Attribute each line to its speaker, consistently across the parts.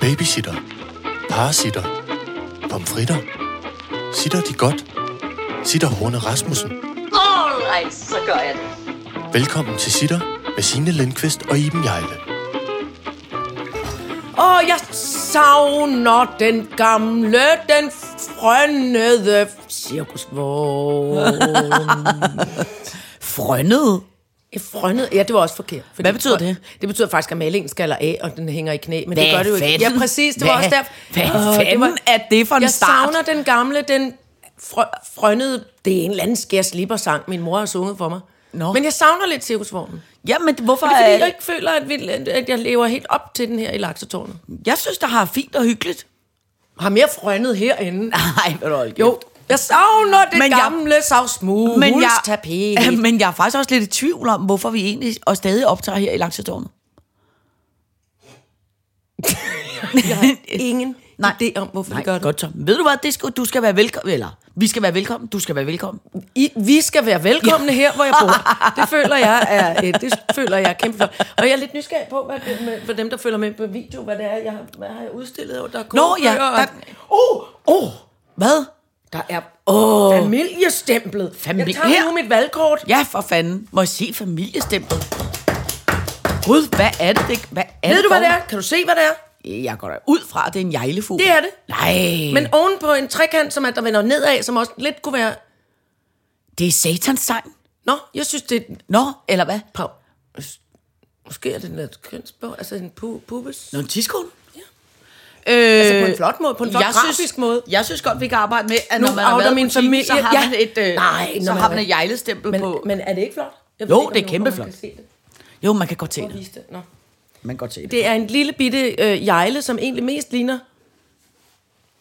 Speaker 1: Babysitter. Parasitter. Pomfritter. Sitter de godt? Sitter Horne Rasmussen.
Speaker 2: Alright, så gør jeg det.
Speaker 1: Velkommen til Sitter med Signe Lindqvist og Iben Jejle.
Speaker 3: Åh, jeg savner den gamle, den frønnede cirkusvogn.
Speaker 4: Frønnet?
Speaker 3: Frønnet? Ja, det var også forkert. Fordi
Speaker 4: Hvad betyder det?
Speaker 3: Det betyder faktisk, at malingen skaller af, og den hænger i knæ, men det
Speaker 4: Hvad
Speaker 3: gør det jo ikke.
Speaker 4: fanden?
Speaker 3: Ja, præcis, det var
Speaker 4: Hvad-
Speaker 3: også derfor.
Speaker 4: Hvad
Speaker 3: Åh,
Speaker 4: fanden er det for en
Speaker 3: jeg
Speaker 4: start?
Speaker 3: savner den gamle, den frø, frønnede, det er en eller anden skærs sang, min mor har sunget for mig.
Speaker 4: Nå.
Speaker 3: Men jeg savner lidt cirkusvognen.
Speaker 4: Ja, men hvorfor
Speaker 3: Det er
Speaker 4: er
Speaker 3: fordi, jeg ikke føler, at, vi, at jeg lever helt op til den her i laksetårnet.
Speaker 4: Jeg synes, der har fint og hyggeligt.
Speaker 3: Har mere frønnet herinde.
Speaker 4: Nej, hvor er
Speaker 3: Jo, jeg savner det
Speaker 4: Ah, Men
Speaker 3: men
Speaker 4: jeg-
Speaker 3: gamle jeg, savsmuls
Speaker 4: men jeg,
Speaker 3: tapet.
Speaker 4: men jeg er faktisk også lidt i tvivl om, hvorfor vi egentlig og stadig optager her i Langsatårnet.
Speaker 3: Ingen Nej. idé om, hvorfor Nej, vi gør det.
Speaker 4: Godt, Tom. Ved du hvad, det skal, du skal være velkommen, eller vi skal være velkommen, du skal være velkommen.
Speaker 3: I, vi skal være velkomne her, hvor jeg bor. Det føler jeg er, øh, det føler jeg er kæmpe for. Og jeg er lidt nysgerrig på, hvad, det- med, for dem, der følger med på video, hvad det er, jeg, har- hvad har jeg udstillet? Og der er
Speaker 4: Nå, ja,
Speaker 3: kogebøger, og-
Speaker 4: der-
Speaker 3: Åh, oh, oh,
Speaker 4: Hvad?
Speaker 3: der er oh, familiestemplet.
Speaker 4: Familie-
Speaker 3: jeg tager
Speaker 4: Her.
Speaker 3: nu mit valgkort.
Speaker 4: Ja, for fanden. Må jeg se familiestemplet? Gud, hvad er det? det hvad er
Speaker 3: Ved
Speaker 4: det
Speaker 3: du, hvad det
Speaker 4: dog?
Speaker 3: er? Kan du se, hvad det er?
Speaker 4: Jeg går da ud fra, at det er en jejlefugl.
Speaker 3: Det er det.
Speaker 4: Nej.
Speaker 3: Men oven på en trekant, som er, der vender nedad, som også lidt kunne være...
Speaker 4: det er satans sang.
Speaker 3: Nå, jeg synes, det er
Speaker 4: Nå, eller hvad?
Speaker 3: Pav. Måske er det noget kønsbog, altså en pu- pubis.
Speaker 4: Nå, en tidskone. Ja.
Speaker 3: Altså på en flot måde, på en flot grafisk måde.
Speaker 4: Jeg synes godt, vi kan arbejde med, at
Speaker 3: Nu
Speaker 4: når man har
Speaker 3: outer
Speaker 4: været
Speaker 3: min
Speaker 4: min familie,
Speaker 3: familie.
Speaker 4: så har
Speaker 3: Ja.
Speaker 4: man et, øh,
Speaker 3: Nej,
Speaker 4: så
Speaker 3: når
Speaker 4: har
Speaker 3: man-
Speaker 4: man et jejlestempel
Speaker 3: Men,
Speaker 4: på.
Speaker 3: men er det ikke flot? Jeg ved
Speaker 4: Jo,
Speaker 3: ikke, om
Speaker 4: det er
Speaker 3: nogen-
Speaker 4: kæmpe
Speaker 3: om man kan
Speaker 4: flot.
Speaker 3: se det.
Speaker 4: Jo, man kan godt se
Speaker 3: Prøv at
Speaker 4: det.
Speaker 3: vise det. Nå.
Speaker 4: Man kan godt se det.
Speaker 3: Det er en lille bitte øh, jejle, som egentlig mest ligner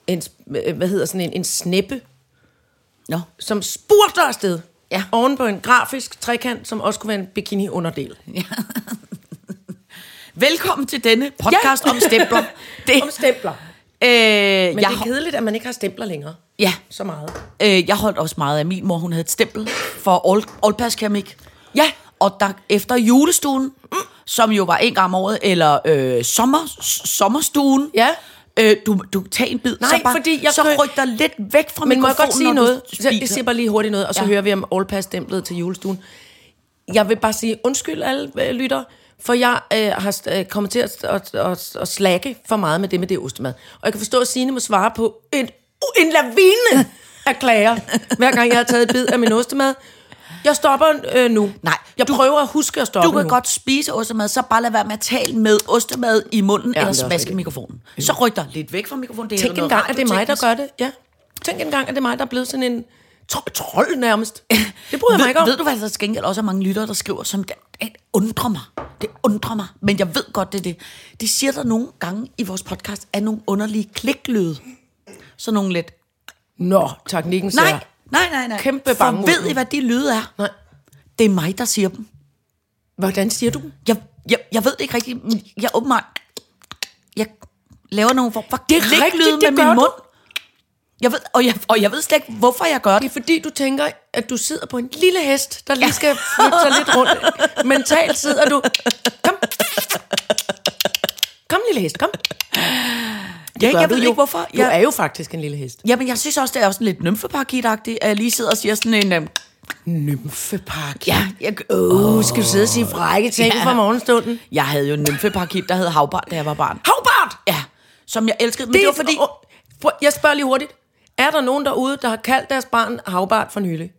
Speaker 3: en, sp- øh, hvad hedder sådan en, en sneppe,
Speaker 4: Nå.
Speaker 3: som spurter afsted.
Speaker 4: Ja.
Speaker 3: Oven på en grafisk trekant, som også kunne være en bikini-underdel.
Speaker 4: Velkommen til denne podcast
Speaker 3: Ja.
Speaker 4: om stempler. Det,
Speaker 3: Om stempler.
Speaker 4: øh,
Speaker 3: Men
Speaker 4: jeg,
Speaker 3: det er kedeligt, at man ikke har stempler længere.
Speaker 4: ja,
Speaker 3: Så meget.
Speaker 4: øh, jeg holdt også meget af min mor. Hun havde et stempel for Old, Oldpass Keramik.
Speaker 3: Ja.
Speaker 4: Og der, efter julestuen, mm. som jo var en gang om året, eller øh, sommer, s- sommerstuen,
Speaker 3: Ja.
Speaker 4: øh, du, du tager en bid,
Speaker 3: Nej,
Speaker 4: så, bare,
Speaker 3: fordi jeg
Speaker 4: så
Speaker 3: kan-
Speaker 4: ryk dig lidt væk fra
Speaker 3: Men må jeg
Speaker 4: mikrofonen,
Speaker 3: godt sige
Speaker 4: når du
Speaker 3: noget? Så Jeg
Speaker 4: spiser.
Speaker 3: siger bare lige hurtigt noget, og så
Speaker 4: Ja.
Speaker 3: ja. hører vi om All Pass stemplet til julestuen. Jeg vil bare sige undskyld alle øh, lytter, for jeg øh, har øh, kommet til at, at, at, at slække for meget med det med det ostemad. Og jeg kan forstå, at Signe må svare på en, uh, en lavine af klager, hver gang jeg har taget et bid af min ostemad. Jeg stopper øh, nu.
Speaker 4: Nej,
Speaker 3: Jeg
Speaker 4: du-
Speaker 3: du, prøver at huske at stoppe
Speaker 4: Du kan
Speaker 3: nu.
Speaker 4: godt spise ostemad, så bare lad være med at tale med ostemad i munden, ja, eller
Speaker 3: det er også
Speaker 4: smaske
Speaker 3: rigtigt.
Speaker 4: mikrofonen. Så ryk dig lidt væk fra mikrofonen. Det er
Speaker 3: Tænk
Speaker 4: noget
Speaker 3: engang, at det er mig, der
Speaker 4: radioteknisk.
Speaker 3: gør det. Ja. Tænk engang, at det er mig, der er blevet sådan en tro- trold nærmest. Det bryder jeg mig ikke om.
Speaker 4: Ved, ved du hvad, der til gengæld også er mange lyttere, der skriver, som det, det undrer mig. Det undrer mig, men jeg ved godt, det er det. Det siger der nogle gange i vores podcast, er nogle underlige kliklyde. Så nogle lidt...
Speaker 3: Nå, teknikken siger.
Speaker 4: Nej, nej, nej, nej.
Speaker 3: Kæmpe
Speaker 4: For
Speaker 3: bangemod
Speaker 4: ved
Speaker 3: nu.
Speaker 4: I, hvad de lyde er?
Speaker 3: Nej.
Speaker 4: Det er mig, der siger dem.
Speaker 3: Hvordan siger du?
Speaker 4: Jeg, jeg, jeg ved det ikke rigtigt. men Jeg åbenbart... Jeg laver nogle form for
Speaker 3: Det er
Speaker 4: kliklyde
Speaker 3: rigtigt, det
Speaker 4: med
Speaker 3: gør
Speaker 4: min
Speaker 3: du.
Speaker 4: mund. Jeg ved, og, jeg, og jeg ved slet ikke, hvorfor jeg gør
Speaker 3: Det
Speaker 4: det.
Speaker 3: er fordi, du tænker, at du sidder på en lille hest, der lige skal flytte sig lidt rundt. Mentalt sidder du... Kom. Kom, lille hest, kom.
Speaker 4: Det jeg, jeg ved ikke, hvorfor.
Speaker 3: Du
Speaker 4: Jeg,
Speaker 3: er jo faktisk en lille hest.
Speaker 4: jamen, jeg synes også, det er også lidt nymfeparakitagtigt, at jeg lige sidder og siger sådan en... øhm,
Speaker 3: Nymfepark.
Speaker 4: Ja, jeg, øh,
Speaker 3: Uh, skal du sidde og sige frække ting
Speaker 4: Ja.
Speaker 3: ja. fra morgenstunden?
Speaker 4: jeg havde jo en nymfeparakit, der hed havbarn, da jeg var barn.
Speaker 3: Havbart!
Speaker 4: Ja, som jeg elskede. Men det, det var fordi...
Speaker 3: Åh, prøv, Jeg spørger lige hurtigt. Er der nogen derude, der har kaldt deres barn Havbart for nylig?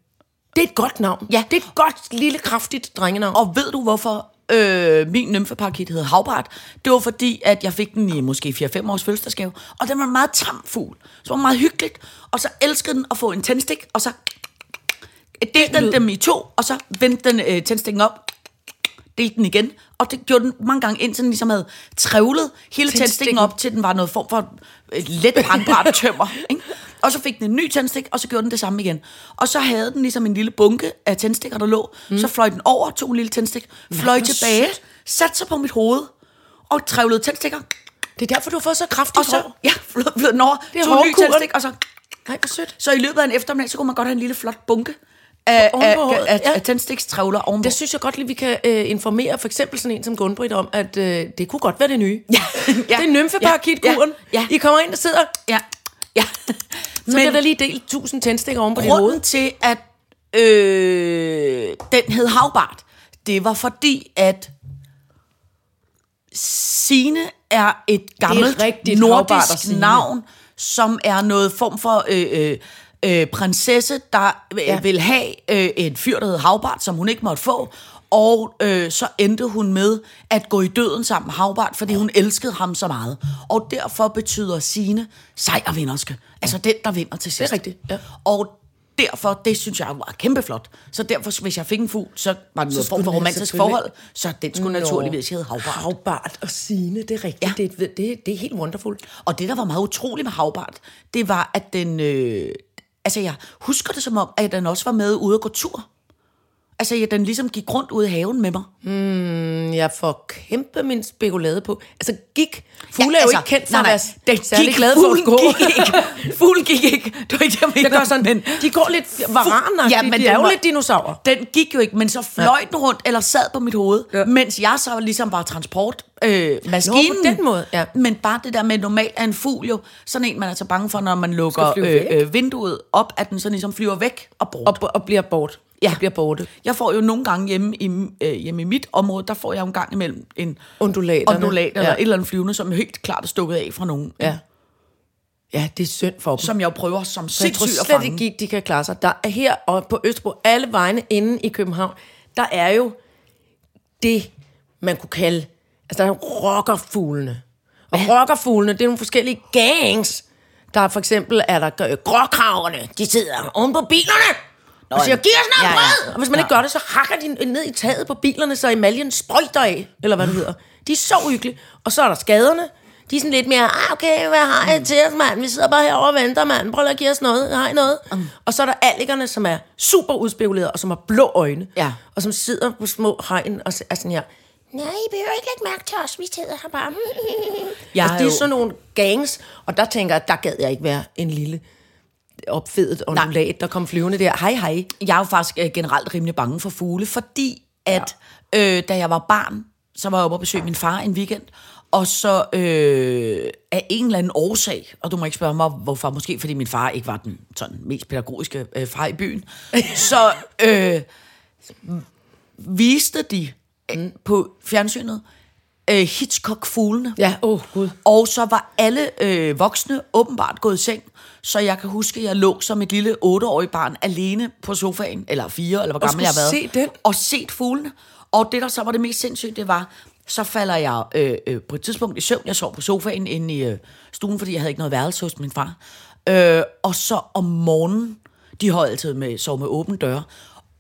Speaker 3: Det er et godt navn.
Speaker 4: Ja.
Speaker 3: Det er et godt, lille, kraftigt drengenavn.
Speaker 4: Og ved du, hvorfor øh, min nymfeparakit hed Havbart? Det var fordi, at jeg fik den i måske 4-5 års fødselsdagsgave, og den var en meget tam fugl. Så var den meget hyggeligt, og så elskede den at få en tændstik, og så delte den dem i to, og så vendte den øh, tændstikken op, delte den igen, og det gjorde den mange gange, indtil den ligesom havde trævlet hele tændstikken
Speaker 3: Tændstikken.
Speaker 4: op, til den var noget form for øh, let brandbart tømmer. Ikke? Og så fik den en ny tændstik, og så gjorde den det samme igen. Og så havde den ligesom en lille bunke af tændstikker, der lå. Mm. Så fløj den over, tog en lille tændstik, fløj
Speaker 3: hvor
Speaker 4: tilbage, satte sig på mit hoved, og trævlede tændstikker.
Speaker 3: Det er derfor, du har fået så kraftigt
Speaker 4: Og så
Speaker 3: hår.
Speaker 4: ja, fløj, fløj den over,
Speaker 3: Det er
Speaker 4: tog en ny
Speaker 3: hårkuren.
Speaker 4: tændstik, og så
Speaker 3: Nej, hvor sødt.
Speaker 4: så i løbet af en eftermiddag, så kunne man godt have en lille flot bunke af, af,
Speaker 3: håret,
Speaker 4: af,
Speaker 3: ja.
Speaker 4: af tændstikstrævler ovenpå.
Speaker 3: Det synes jeg godt lige, vi kan øh, informere for eksempel sådan en som Gunbrit om, at øh, det kunne godt være det nye. Ja.
Speaker 4: ja,
Speaker 3: Det er nymfeparakitkuren.
Speaker 4: ja, ja.
Speaker 3: I kommer ind og sidder, så
Speaker 4: Ja. ja. Men
Speaker 3: bliver der lige delt 1000 tændstikker oven på dit hoved.
Speaker 4: grunden til, at øh, den hed Havbart, det var fordi, at Sine er et gammelt
Speaker 3: rigtigt Havbart og
Speaker 4: nordisk
Speaker 3: Signe.
Speaker 4: navn, som er noget form for øh, øh, øh, prinsesse, der ja. vil have øh, en fyr, der hedder Havbart, som hun ikke måtte få. Og øh, så endte hun med at gå i døden sammen med Havbart, fordi hun elskede ham så meget. Og derfor betyder Sine sejrvinderske. Altså den, der vinder til sidst.
Speaker 3: rigtigt, ja.
Speaker 4: Og derfor, det synes jeg var kæmpe flot. Så derfor, hvis jeg fik en fugl, så var det noget form
Speaker 3: skulle
Speaker 4: for
Speaker 3: den
Speaker 4: romantisk
Speaker 3: selvfølgelig-
Speaker 4: forhold, så den skulle
Speaker 3: Nå.
Speaker 4: naturligvis hedde Havbart.
Speaker 3: Havbart og Sine, det er rigtigt. Ja. Det, det, det er helt wonderful.
Speaker 4: Og det, der var meget utroligt med Havbart, det var, at den... Øh, altså, jeg husker det som om, at den også var med ude at gå tur. Altså, ja, den ligesom gik rundt ude i haven med mig.
Speaker 3: Jeg får kæmpe min spekulade på. Altså gik. Fugle ja, altså, er jo ikke kendt for
Speaker 4: nej, nej,
Speaker 3: at være
Speaker 4: den
Speaker 3: særlig
Speaker 4: gik-
Speaker 3: glad for at
Speaker 4: fuglen
Speaker 3: gå.
Speaker 4: gik ikke. Fuglen gik ikke. Det var ikke det, jeg mener.
Speaker 3: Jeg gør sådan, men, de går lidt varanagtigt. Ja,
Speaker 4: Ja, men
Speaker 3: de er
Speaker 4: den
Speaker 3: jo
Speaker 4: var-
Speaker 3: lidt dinosaurer.
Speaker 4: Den gik jo ikke, men så fløj den rundt, eller sad på mit hoved,
Speaker 3: Ja.
Speaker 4: ja. mens jeg så ligesom var transportmaskinen. Øh, maskinen.
Speaker 3: Nå, på den måde, ja.
Speaker 4: Men bare det der med, normalt er en fugl jo sådan en, man er så bange for, når man lukker
Speaker 3: flyve
Speaker 4: øh,
Speaker 3: væk.
Speaker 4: øh, vinduet op, at den så ligesom flyver væk og bort.
Speaker 3: Og, og bliver bort.
Speaker 4: Ja.
Speaker 3: Og bliver borte.
Speaker 4: Jeg får jo nogle gange hjemme i, øh, hjemme i mit område, der får jeg jo en gang imellem en
Speaker 3: Undulaterne.
Speaker 4: ondulat eller
Speaker 3: Ja.
Speaker 4: ja. et eller andet flyvende, som er helt klart er stukket af fra nogen,
Speaker 3: Ja. Ja, det er synd for dem.
Speaker 4: som jeg jo prøver som
Speaker 3: Så jeg tror
Speaker 4: sindssyg at
Speaker 3: slet
Speaker 4: fange.
Speaker 3: ikke, de- de kan klare sig. Der er her og på Østerbro, alle vegne inde i København, der er jo det, man kunne kalde, altså der er rockerfuglene. Og rockerfuglene, det er nogle forskellige gangs. Der er for eksempel, er der øh, gråkraverne, de sidder oven på bilerne. Nå, og siger,
Speaker 4: ja.
Speaker 3: giv os noget
Speaker 4: Ja,
Speaker 3: ja,
Speaker 4: ja.
Speaker 3: brød! Og hvis man ikke gør det, så hakker de ned i taget på bilerne, så emaljen sprøjter af, eller
Speaker 4: Ah.
Speaker 3: hvad det hedder. De er så hyggelige. Og så er der skaderne. De er sådan lidt mere, ah, okay, hvad har
Speaker 4: Mm.
Speaker 3: jeg til os, mand? Vi sidder bare herovre og venter, mand. Prøv lige at give os noget. Har I noget? Mm. Og så er der algerne, som er super udspekulerede, og som har blå øjne.
Speaker 4: Ja.
Speaker 3: Og som sidder på små hegn og s- er sådan her. Nej, I behøver ikke lægge mærke til os, vi sidder her bare.
Speaker 4: Jeg
Speaker 3: og
Speaker 4: er
Speaker 3: det er
Speaker 4: jo-
Speaker 3: sådan nogle gangs, og der tænker jeg, der gad jeg ikke være en lille opfedet ondulat, der kom flyvende der. Hej, hej.
Speaker 4: Jeg er jo faktisk øh, generelt rimelig bange for fugle, fordi at ja. øh, da jeg var barn, så var jeg oppe og besøge min far en weekend, og så øh, af en eller anden årsag, og du må ikke spørge mig hvorfor, måske fordi min far ikke var den sådan, mest pædagogiske øh, far i byen, så øh, viste de øh, på fjernsynet øh, Hitchcock-fuglene.
Speaker 3: Ja, åh oh, gud.
Speaker 4: Og så var alle øh, voksne åbenbart gået i seng, så jeg kan huske, at jeg lå som et lille otteårig barn alene på sofaen, eller fire, eller hvor gammel
Speaker 3: skulle
Speaker 4: jeg har været.
Speaker 3: se den?
Speaker 4: Og set fuglene. Og det, der så var det mest sindssygt, det var, så falder jeg øh, øh, på et tidspunkt i søvn. Jeg sov på sofaen inde i øh, stuen, fordi jeg havde ikke noget værelse hos min far. Øh, og så om morgenen, de har altid med, sov med åbne døre,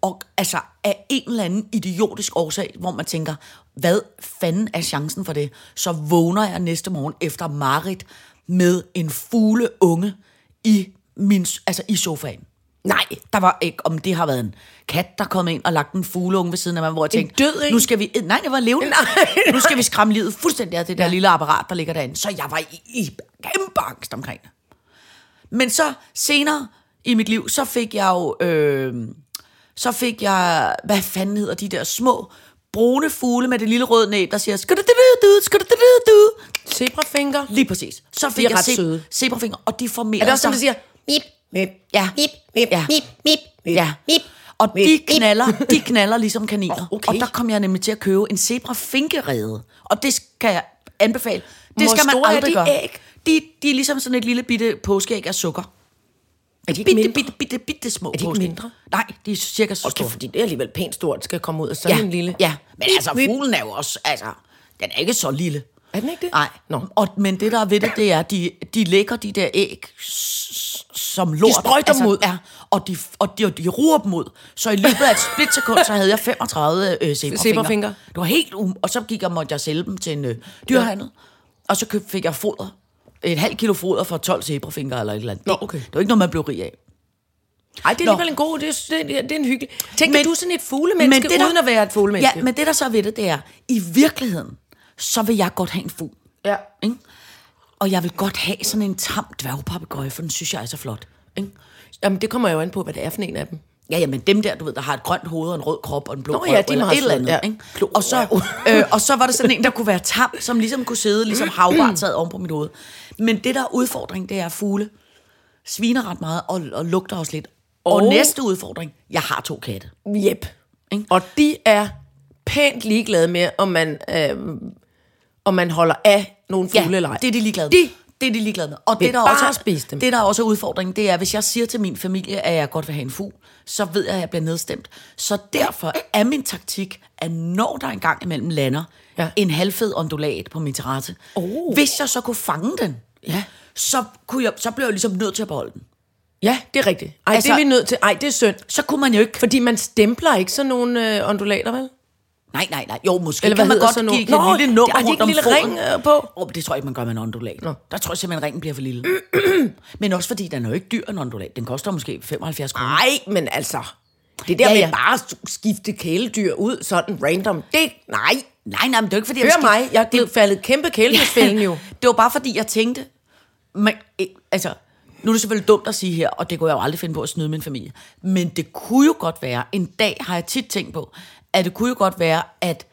Speaker 4: og altså af en eller anden idiotisk årsag, hvor man tænker, hvad fanden er chancen for det? Så vågner jeg næste morgen efter Marit med en fugleunge i, min, altså i sofaen. Nej, der var ikke, om det har været en kat, der kom ind og lagt en fugleunge ved siden af mig, hvor jeg tænkte,
Speaker 3: død en?
Speaker 4: nu skal vi, nej, det var levende.
Speaker 3: Nej.
Speaker 4: Nu skal vi skræmme livet fuldstændig af det der ja. lille apparat, der ligger derinde. Så jeg var i, i kæmpe angst omkring det. Men så senere i mit liv, så fik jeg jo, øh, så fik jeg, hvad fanden hedder de der små, brune fugle med det lille røde næb, der siger, "Skududududu, skududududu."
Speaker 3: Zebrafinger.
Speaker 4: Lige præcis. Så fik
Speaker 3: er
Speaker 4: jeg
Speaker 3: ret
Speaker 4: se-
Speaker 3: søde.
Speaker 4: zebrafinger, og de formerer
Speaker 3: Er det også dem, der
Speaker 4: sig.
Speaker 5: Mip,
Speaker 3: siger,
Speaker 5: mip,
Speaker 4: Ja.
Speaker 5: mip, mip,
Speaker 4: Ja.
Speaker 5: mip, mip, mip,
Speaker 4: Ja.
Speaker 5: mip.
Speaker 4: Og de
Speaker 5: Mip, mip.
Speaker 4: knaller, de knaller ligesom kaniner.
Speaker 3: Åh, okay.
Speaker 4: Og der kom jeg nemlig til at købe en zebra finkerede. Og det skal jeg anbefale. Det
Speaker 3: Hvor
Speaker 4: skal man
Speaker 3: store er
Speaker 4: aldrig
Speaker 3: de
Speaker 4: gøre.
Speaker 3: æg?
Speaker 4: De, de er ligesom sådan et lille bitte påskeæg af sukker.
Speaker 3: er de ikke
Speaker 4: Bitte,
Speaker 3: mindre?
Speaker 4: bitte, bitte, bitte, små Er
Speaker 3: de ikke mindre?
Speaker 4: Nej, de er cirka så
Speaker 3: Okay,
Speaker 4: store.
Speaker 3: fordi det er alligevel pænt stort, skal komme ud af sådan
Speaker 4: ja.
Speaker 3: en lille.
Speaker 4: Ja, men altså fuglen er jo også, altså, den er ikke så lille.
Speaker 3: Er den ikke det?
Speaker 4: Nej,
Speaker 3: Nå.
Speaker 4: Og, men det der er ved det, det er, at de, de lægger de der æg s- s- som lort. Altså,
Speaker 3: sprøjter dem ud.
Speaker 4: Ja, og de, og de, og de ruer dem ud. Så i løbet af et splitsekund, så havde jeg 35 øh, zebrafinger.
Speaker 3: Zebrafinger.
Speaker 4: Det var helt um... Og så gik jeg, måtte jeg sælge dem til en øh, dyrhandel. Og så køb, fik jeg foder. Et halvt kilo foder for 12 zebrafinger eller et eller andet.
Speaker 3: Nå,
Speaker 4: Det-
Speaker 3: okay.
Speaker 4: Det var ikke noget, man blev rig af.
Speaker 3: Ej, det er
Speaker 4: Nå.
Speaker 3: alligevel en god, det er, det er, det er en hyggelig. Tænk, men,
Speaker 4: Men-
Speaker 3: du er sådan et fuglemenneske, men det der, uden at være et fuglemenneske.
Speaker 4: Ja, men det der så er ved det, det er, i virkeligheden, så vil jeg godt have en fugl.
Speaker 3: ja.
Speaker 4: Ikke? Og jeg vil godt have sådan en tam dværgpapegøje, for den synes jeg er så flot. Ikke?
Speaker 3: Jamen, det kommer jo an på, hvad det er for en af dem.
Speaker 4: Ja, ja, men dem der, du ved, der har et grønt hoved og en rød krop og en blå
Speaker 3: Nå,
Speaker 4: krop,
Speaker 3: ja, de
Speaker 4: eller
Speaker 3: har
Speaker 4: et eller
Speaker 3: sådan-
Speaker 4: andet.
Speaker 3: ja.
Speaker 4: Ikke? Og, så, øh, og så var der sådan en, der kunne være tam, som ligesom kunne sidde, ligesom havbart sad oven på mit hoved. Men det, der er udfordring, det er at fugle. Sviner ret meget og, og lugter også lidt. Og, og
Speaker 3: Og-
Speaker 4: næste udfordring, jeg har to katte.
Speaker 3: Jep.
Speaker 4: Ikke?
Speaker 3: Og de er pænt ligeglade med, om man, øh, om man holder af nogle fugle eller ej.
Speaker 4: det er de ligeglade med.
Speaker 3: De
Speaker 4: det er de ligeglade med. Og
Speaker 3: vil
Speaker 4: det, der
Speaker 3: bare
Speaker 4: også er,
Speaker 3: spise dem.
Speaker 4: det, der også er udfordringen, det er, hvis jeg siger til min familie, at jeg godt vil have en fugl, så ved jeg, at jeg bliver nedstemt. Så derfor er min taktik, at når der engang imellem lander ja.
Speaker 3: Ja.
Speaker 4: en halvfed ondulat på min terrasse, oh. hvis jeg så kunne fange den,
Speaker 3: Ja.
Speaker 4: så, kunne jeg, så blev jeg ligesom nødt til at beholde den.
Speaker 3: Ja, det er rigtigt. Ej,
Speaker 4: Altså-
Speaker 3: altså, det er vi nødt til. Ej, det er synd.
Speaker 4: Så kunne man jo ikke...
Speaker 3: Fordi man stempler ikke sådan nogle øh, ondulater, vel?
Speaker 4: Nej, nej, nej. Jo, måske
Speaker 3: Eller
Speaker 4: kan
Speaker 3: hvad
Speaker 4: man
Speaker 3: hedder
Speaker 4: godt
Speaker 3: sådan
Speaker 4: give
Speaker 3: nogle-
Speaker 4: et
Speaker 3: Nå,
Speaker 4: lille nummer
Speaker 3: har de
Speaker 4: rundt
Speaker 3: ikke
Speaker 4: om
Speaker 3: en lille
Speaker 4: foden.
Speaker 3: ring, øh, på?
Speaker 4: Oh, det tror jeg ikke, man gør med en ondulat. Nå. Der tror jeg simpelthen, ringen bliver for lille. Men også fordi, den er jo ikke dyr, en ondulat. Den koster måske 75 kroner.
Speaker 3: Nej, men altså... Det der
Speaker 4: Ja,
Speaker 3: ja, med
Speaker 4: ja.
Speaker 3: ja. bare at skifte kæledyr ud sådan random, det... Nej,
Speaker 4: Nej, nej, men det er jo ikke fordi,
Speaker 3: hør
Speaker 4: jeg
Speaker 3: mig, jeg er blevet faldet kæmpe kæledyrsfælden jo.
Speaker 4: Det var bare fordi, jeg tænkte... Man, eh, altså, nu er det selvfølgelig dumt at sige her, og det kunne jeg jo aldrig finde på at snyde min familie. Men det kunne jo godt være, en dag har jeg tit tænkt på, at det kunne jo godt være, at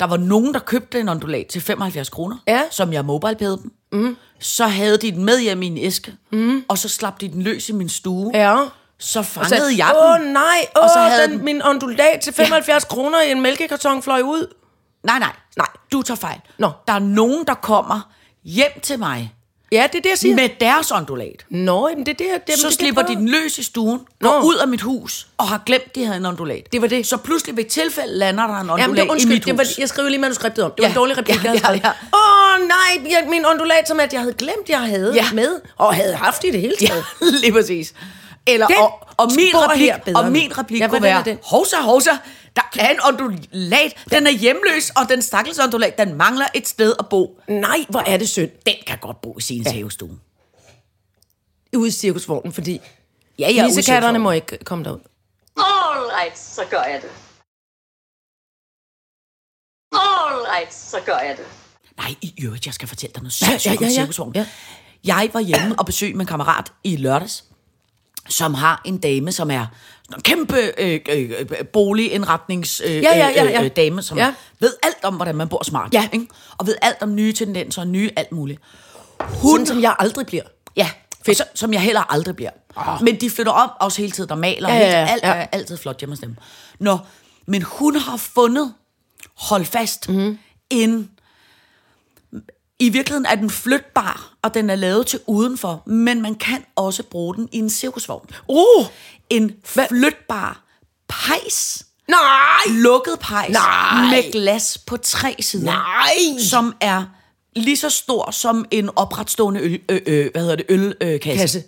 Speaker 4: der var nogen, der købte en ondulat til 75 kroner,
Speaker 3: Ja. Mhm.
Speaker 4: som jeg mobilepædede dem. Mm. Så havde de den med hjem i en æske, mm. og så slap de den løs i min stue.
Speaker 3: Ja.
Speaker 4: Så
Speaker 3: Og så,
Speaker 4: fangede jeg den.
Speaker 3: åh nej, åh,
Speaker 4: Og
Speaker 3: og
Speaker 4: så
Speaker 3: så
Speaker 4: havde
Speaker 3: den,
Speaker 4: den-
Speaker 3: min ondulat til 75 ja. kroner i en mælkekarton fløj ud.
Speaker 4: Nej, nej, nej,
Speaker 3: Nej.
Speaker 4: du tager fejl.
Speaker 3: Nå.
Speaker 4: Der er nogen, der kommer hjem til mig
Speaker 3: Ja, det er det, jeg siger. Men,
Speaker 4: med deres ondulat.
Speaker 3: Nå, jamen det er det, jeg... Det,
Speaker 4: så
Speaker 3: det,
Speaker 4: slipper
Speaker 3: det,
Speaker 4: de den løs i stuen,
Speaker 3: Nå.
Speaker 4: går ud af mit hus, og har glemt, de havde en ondulat.
Speaker 3: Det var det.
Speaker 4: Så pludselig ved et tilfælde lander der en ondulat
Speaker 3: Jamen, det,
Speaker 4: i
Speaker 3: undskyld,
Speaker 4: mit
Speaker 3: det var,
Speaker 4: hus.
Speaker 3: jeg skrev lige manuskriptet om. Det var
Speaker 4: Ja,
Speaker 3: ja, en dårlig replik,
Speaker 4: ja,
Speaker 3: ja, jeg havde
Speaker 4: ja,
Speaker 3: ja, ja. Åh nej, jeg, min ondulat, som at jeg havde glemt, jeg havde
Speaker 4: Ja.
Speaker 3: ja. med, og havde haft i det hele taget. Ja.
Speaker 4: lige præcis. Eller,
Speaker 3: Den
Speaker 4: og, og, min
Speaker 3: spor
Speaker 4: replik,
Speaker 3: her bedre
Speaker 4: og min
Speaker 3: nu.
Speaker 4: replik
Speaker 3: Ja,
Speaker 4: kunne
Speaker 3: hvordan er
Speaker 4: være,
Speaker 3: den?
Speaker 4: hovsa, hovsa, der er en ondulat, den er hjemløs, og den stakkels ondulat, den mangler et sted at bo.
Speaker 3: Nej, hvor er det synd.
Speaker 4: Den kan godt bo i sin ja. havestue.
Speaker 3: Ude i cirkusvognen, fordi
Speaker 4: Ja, ja,
Speaker 3: nissekatterne må ikke komme derud.
Speaker 2: All right, så gør jeg det. All right, så gør jeg det.
Speaker 4: Nej, i øvrigt, jeg skal fortælle dig noget sindssygt
Speaker 3: ja, ja,
Speaker 4: om
Speaker 3: ja.
Speaker 4: cirkusvognen.
Speaker 3: Ja.
Speaker 4: Jeg var hjemme og besøgte min kammerat i lørdags, som har en dame, som er sådan en kæmpe øh, øh, øh, boligindretnings øh,
Speaker 3: Ja, ja, ja, ja.
Speaker 4: Øh, øh, dame, som ja.
Speaker 3: Ja.
Speaker 4: ved alt om, hvordan man bor smart.
Speaker 3: Ja.
Speaker 4: Ikke? Og ved alt om nye tendenser og nye alt muligt.
Speaker 3: Hun, som jeg aldrig bliver.
Speaker 4: Ja, fedt. Så, som jeg heller aldrig bliver. Oh. Men de flytter om også hele tiden, der maler. Ja,
Speaker 3: Ah. Ja,
Speaker 4: ja,
Speaker 3: ja,
Speaker 4: ja.
Speaker 3: ja.
Speaker 4: Alt er altid flot hjemme hos dem. Nå, men hun har fundet, hold fast,
Speaker 3: Mhm.
Speaker 4: mm. en... I virkeligheden er den flytbar, og den er lavet til udenfor, men man kan også bruge den i en cirkusvogn.
Speaker 3: Uh,
Speaker 4: En flytbar pejs.
Speaker 3: nej,
Speaker 4: Lukket pejs
Speaker 3: Nej.
Speaker 4: med glas på tre sider
Speaker 3: nej.
Speaker 4: som er lige så stor som en opretstående øl, øh, øh, hvad hedder det, ølkasse. Øh, kasse.
Speaker 3: Kasse.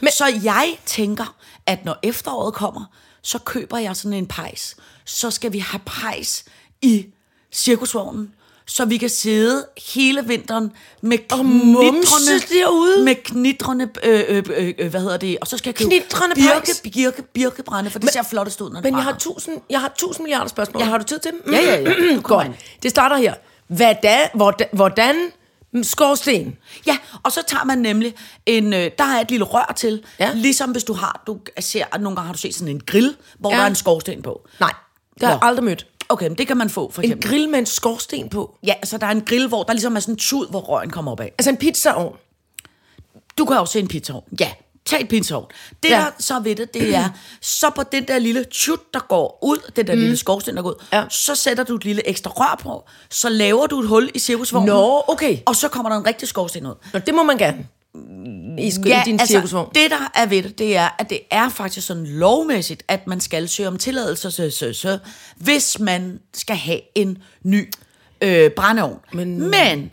Speaker 4: Men, så jeg tænker, at når efteråret kommer, så køber jeg sådan en pejs. Så skal vi have pejs i cirkusvognen, så vi kan sidde hele vinteren med knitrende,
Speaker 3: mumse derude.
Speaker 4: med knitrende øh, øh, øh, øh, hvad hedder det, og så skal jeg købe
Speaker 3: Knitrende
Speaker 4: birke,
Speaker 3: pejs.
Speaker 4: birke, birkebrænde, for det ser flottest ud, når det
Speaker 3: Men jeg
Speaker 4: brænder.
Speaker 3: har, tusind, jeg har tusind milliarder spørgsmål. Ja. Har du tid til dem?
Speaker 4: Ja, ja, ja. Du kommer
Speaker 3: Godt.
Speaker 4: ind.
Speaker 3: Det starter her. Hvad da, hvordan, hvordan skorsten?
Speaker 4: Ja, og så tager man nemlig en, øh, der er et lille rør til, ja.
Speaker 3: Ja.
Speaker 4: ligesom hvis du har, du ser, at nogle gange har du set sådan en grill, hvor ja.
Speaker 3: Ja.
Speaker 4: der er en skorsten på.
Speaker 3: Nej, det har jeg
Speaker 4: Nå.
Speaker 3: aldrig mødt.
Speaker 4: Okay, men det kan man få, for
Speaker 3: En
Speaker 4: eksempel.
Speaker 3: grill med en skorsten på.
Speaker 4: Ja, så der er en grill, hvor der ligesom er sådan en tud, hvor røgen kommer op af.
Speaker 3: Altså en pizzaovn.
Speaker 4: Du kan også se en pizzaovn. Ja, tag et pizzaovn. Det, ja.
Speaker 3: Ja.
Speaker 4: der så er ved det, det er, så på den der lille tjut, der går ud, den der mm. lille skorsten, der går ud, ja.
Speaker 3: Ja.
Speaker 4: så sætter du et lille ekstra rør på, så laver du et hul i cirkusvognen.
Speaker 3: Nå, okay.
Speaker 4: Og så kommer der en rigtig skorsten ud.
Speaker 3: Nå, det må man gerne. I, sk- ja, i din altså, cirkusvogn.
Speaker 4: det der er ved det, det er, at det er faktisk sådan lovmæssigt, at man skal søge om tilladelse, så, så, så, hvis man skal have en ny øh, brændeovn. Men... Men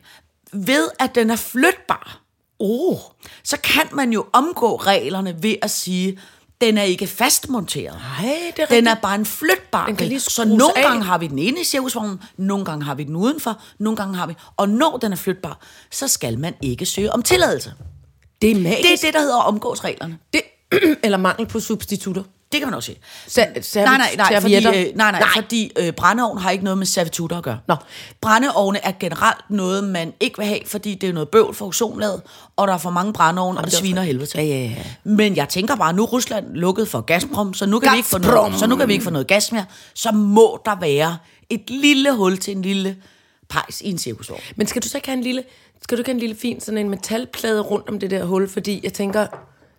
Speaker 4: ved at den er flytbar, oh. så kan man jo omgå reglerne ved at sige, den er ikke fastmonteret.
Speaker 3: Nej, det er
Speaker 4: Den
Speaker 3: rigtigt.
Speaker 4: er bare en flytbar.
Speaker 3: Den kan lige
Speaker 4: så
Speaker 3: skrues
Speaker 4: nogle
Speaker 3: af.
Speaker 4: gange har vi den inde i cirkusvognen, nogle gange har vi den udenfor, nogle gange har vi... Og når den er flytbar, så skal man ikke søge om tilladelse.
Speaker 3: Det er magisk.
Speaker 4: Det er det, der hedder at omgås reglerne.
Speaker 3: Det, eller mangel på substitutter.
Speaker 4: Det kan man også se.
Speaker 3: Ser- ser-
Speaker 4: nej, nej, nej, fordi,
Speaker 3: servietter?
Speaker 4: øh, nej, nej,
Speaker 3: Nej.
Speaker 4: fordi øh, brændeovn har ikke noget med servitutter at gøre.
Speaker 3: Nå.
Speaker 4: Brændeovne er generelt noget, man ikke vil have, fordi det er noget bøvl for ozonlaget, og der er for mange brændeovne, og det,
Speaker 3: det er
Speaker 4: sviner
Speaker 3: også-
Speaker 4: helvede til.
Speaker 3: Ja, ja, ja.
Speaker 4: Men jeg tænker bare, nu er Rusland lukket for Gazprom, så nu kan, vi ikke få
Speaker 3: Gazprom.
Speaker 4: noget, så nu kan vi ikke få noget gas mere. Så må der være et lille hul til en lille pejs i en cirkusvogn.
Speaker 3: Men skal du så ikke have en lille, skal du ikke have en lille fin sådan en metalplade rundt om det der hul? Fordi jeg tænker,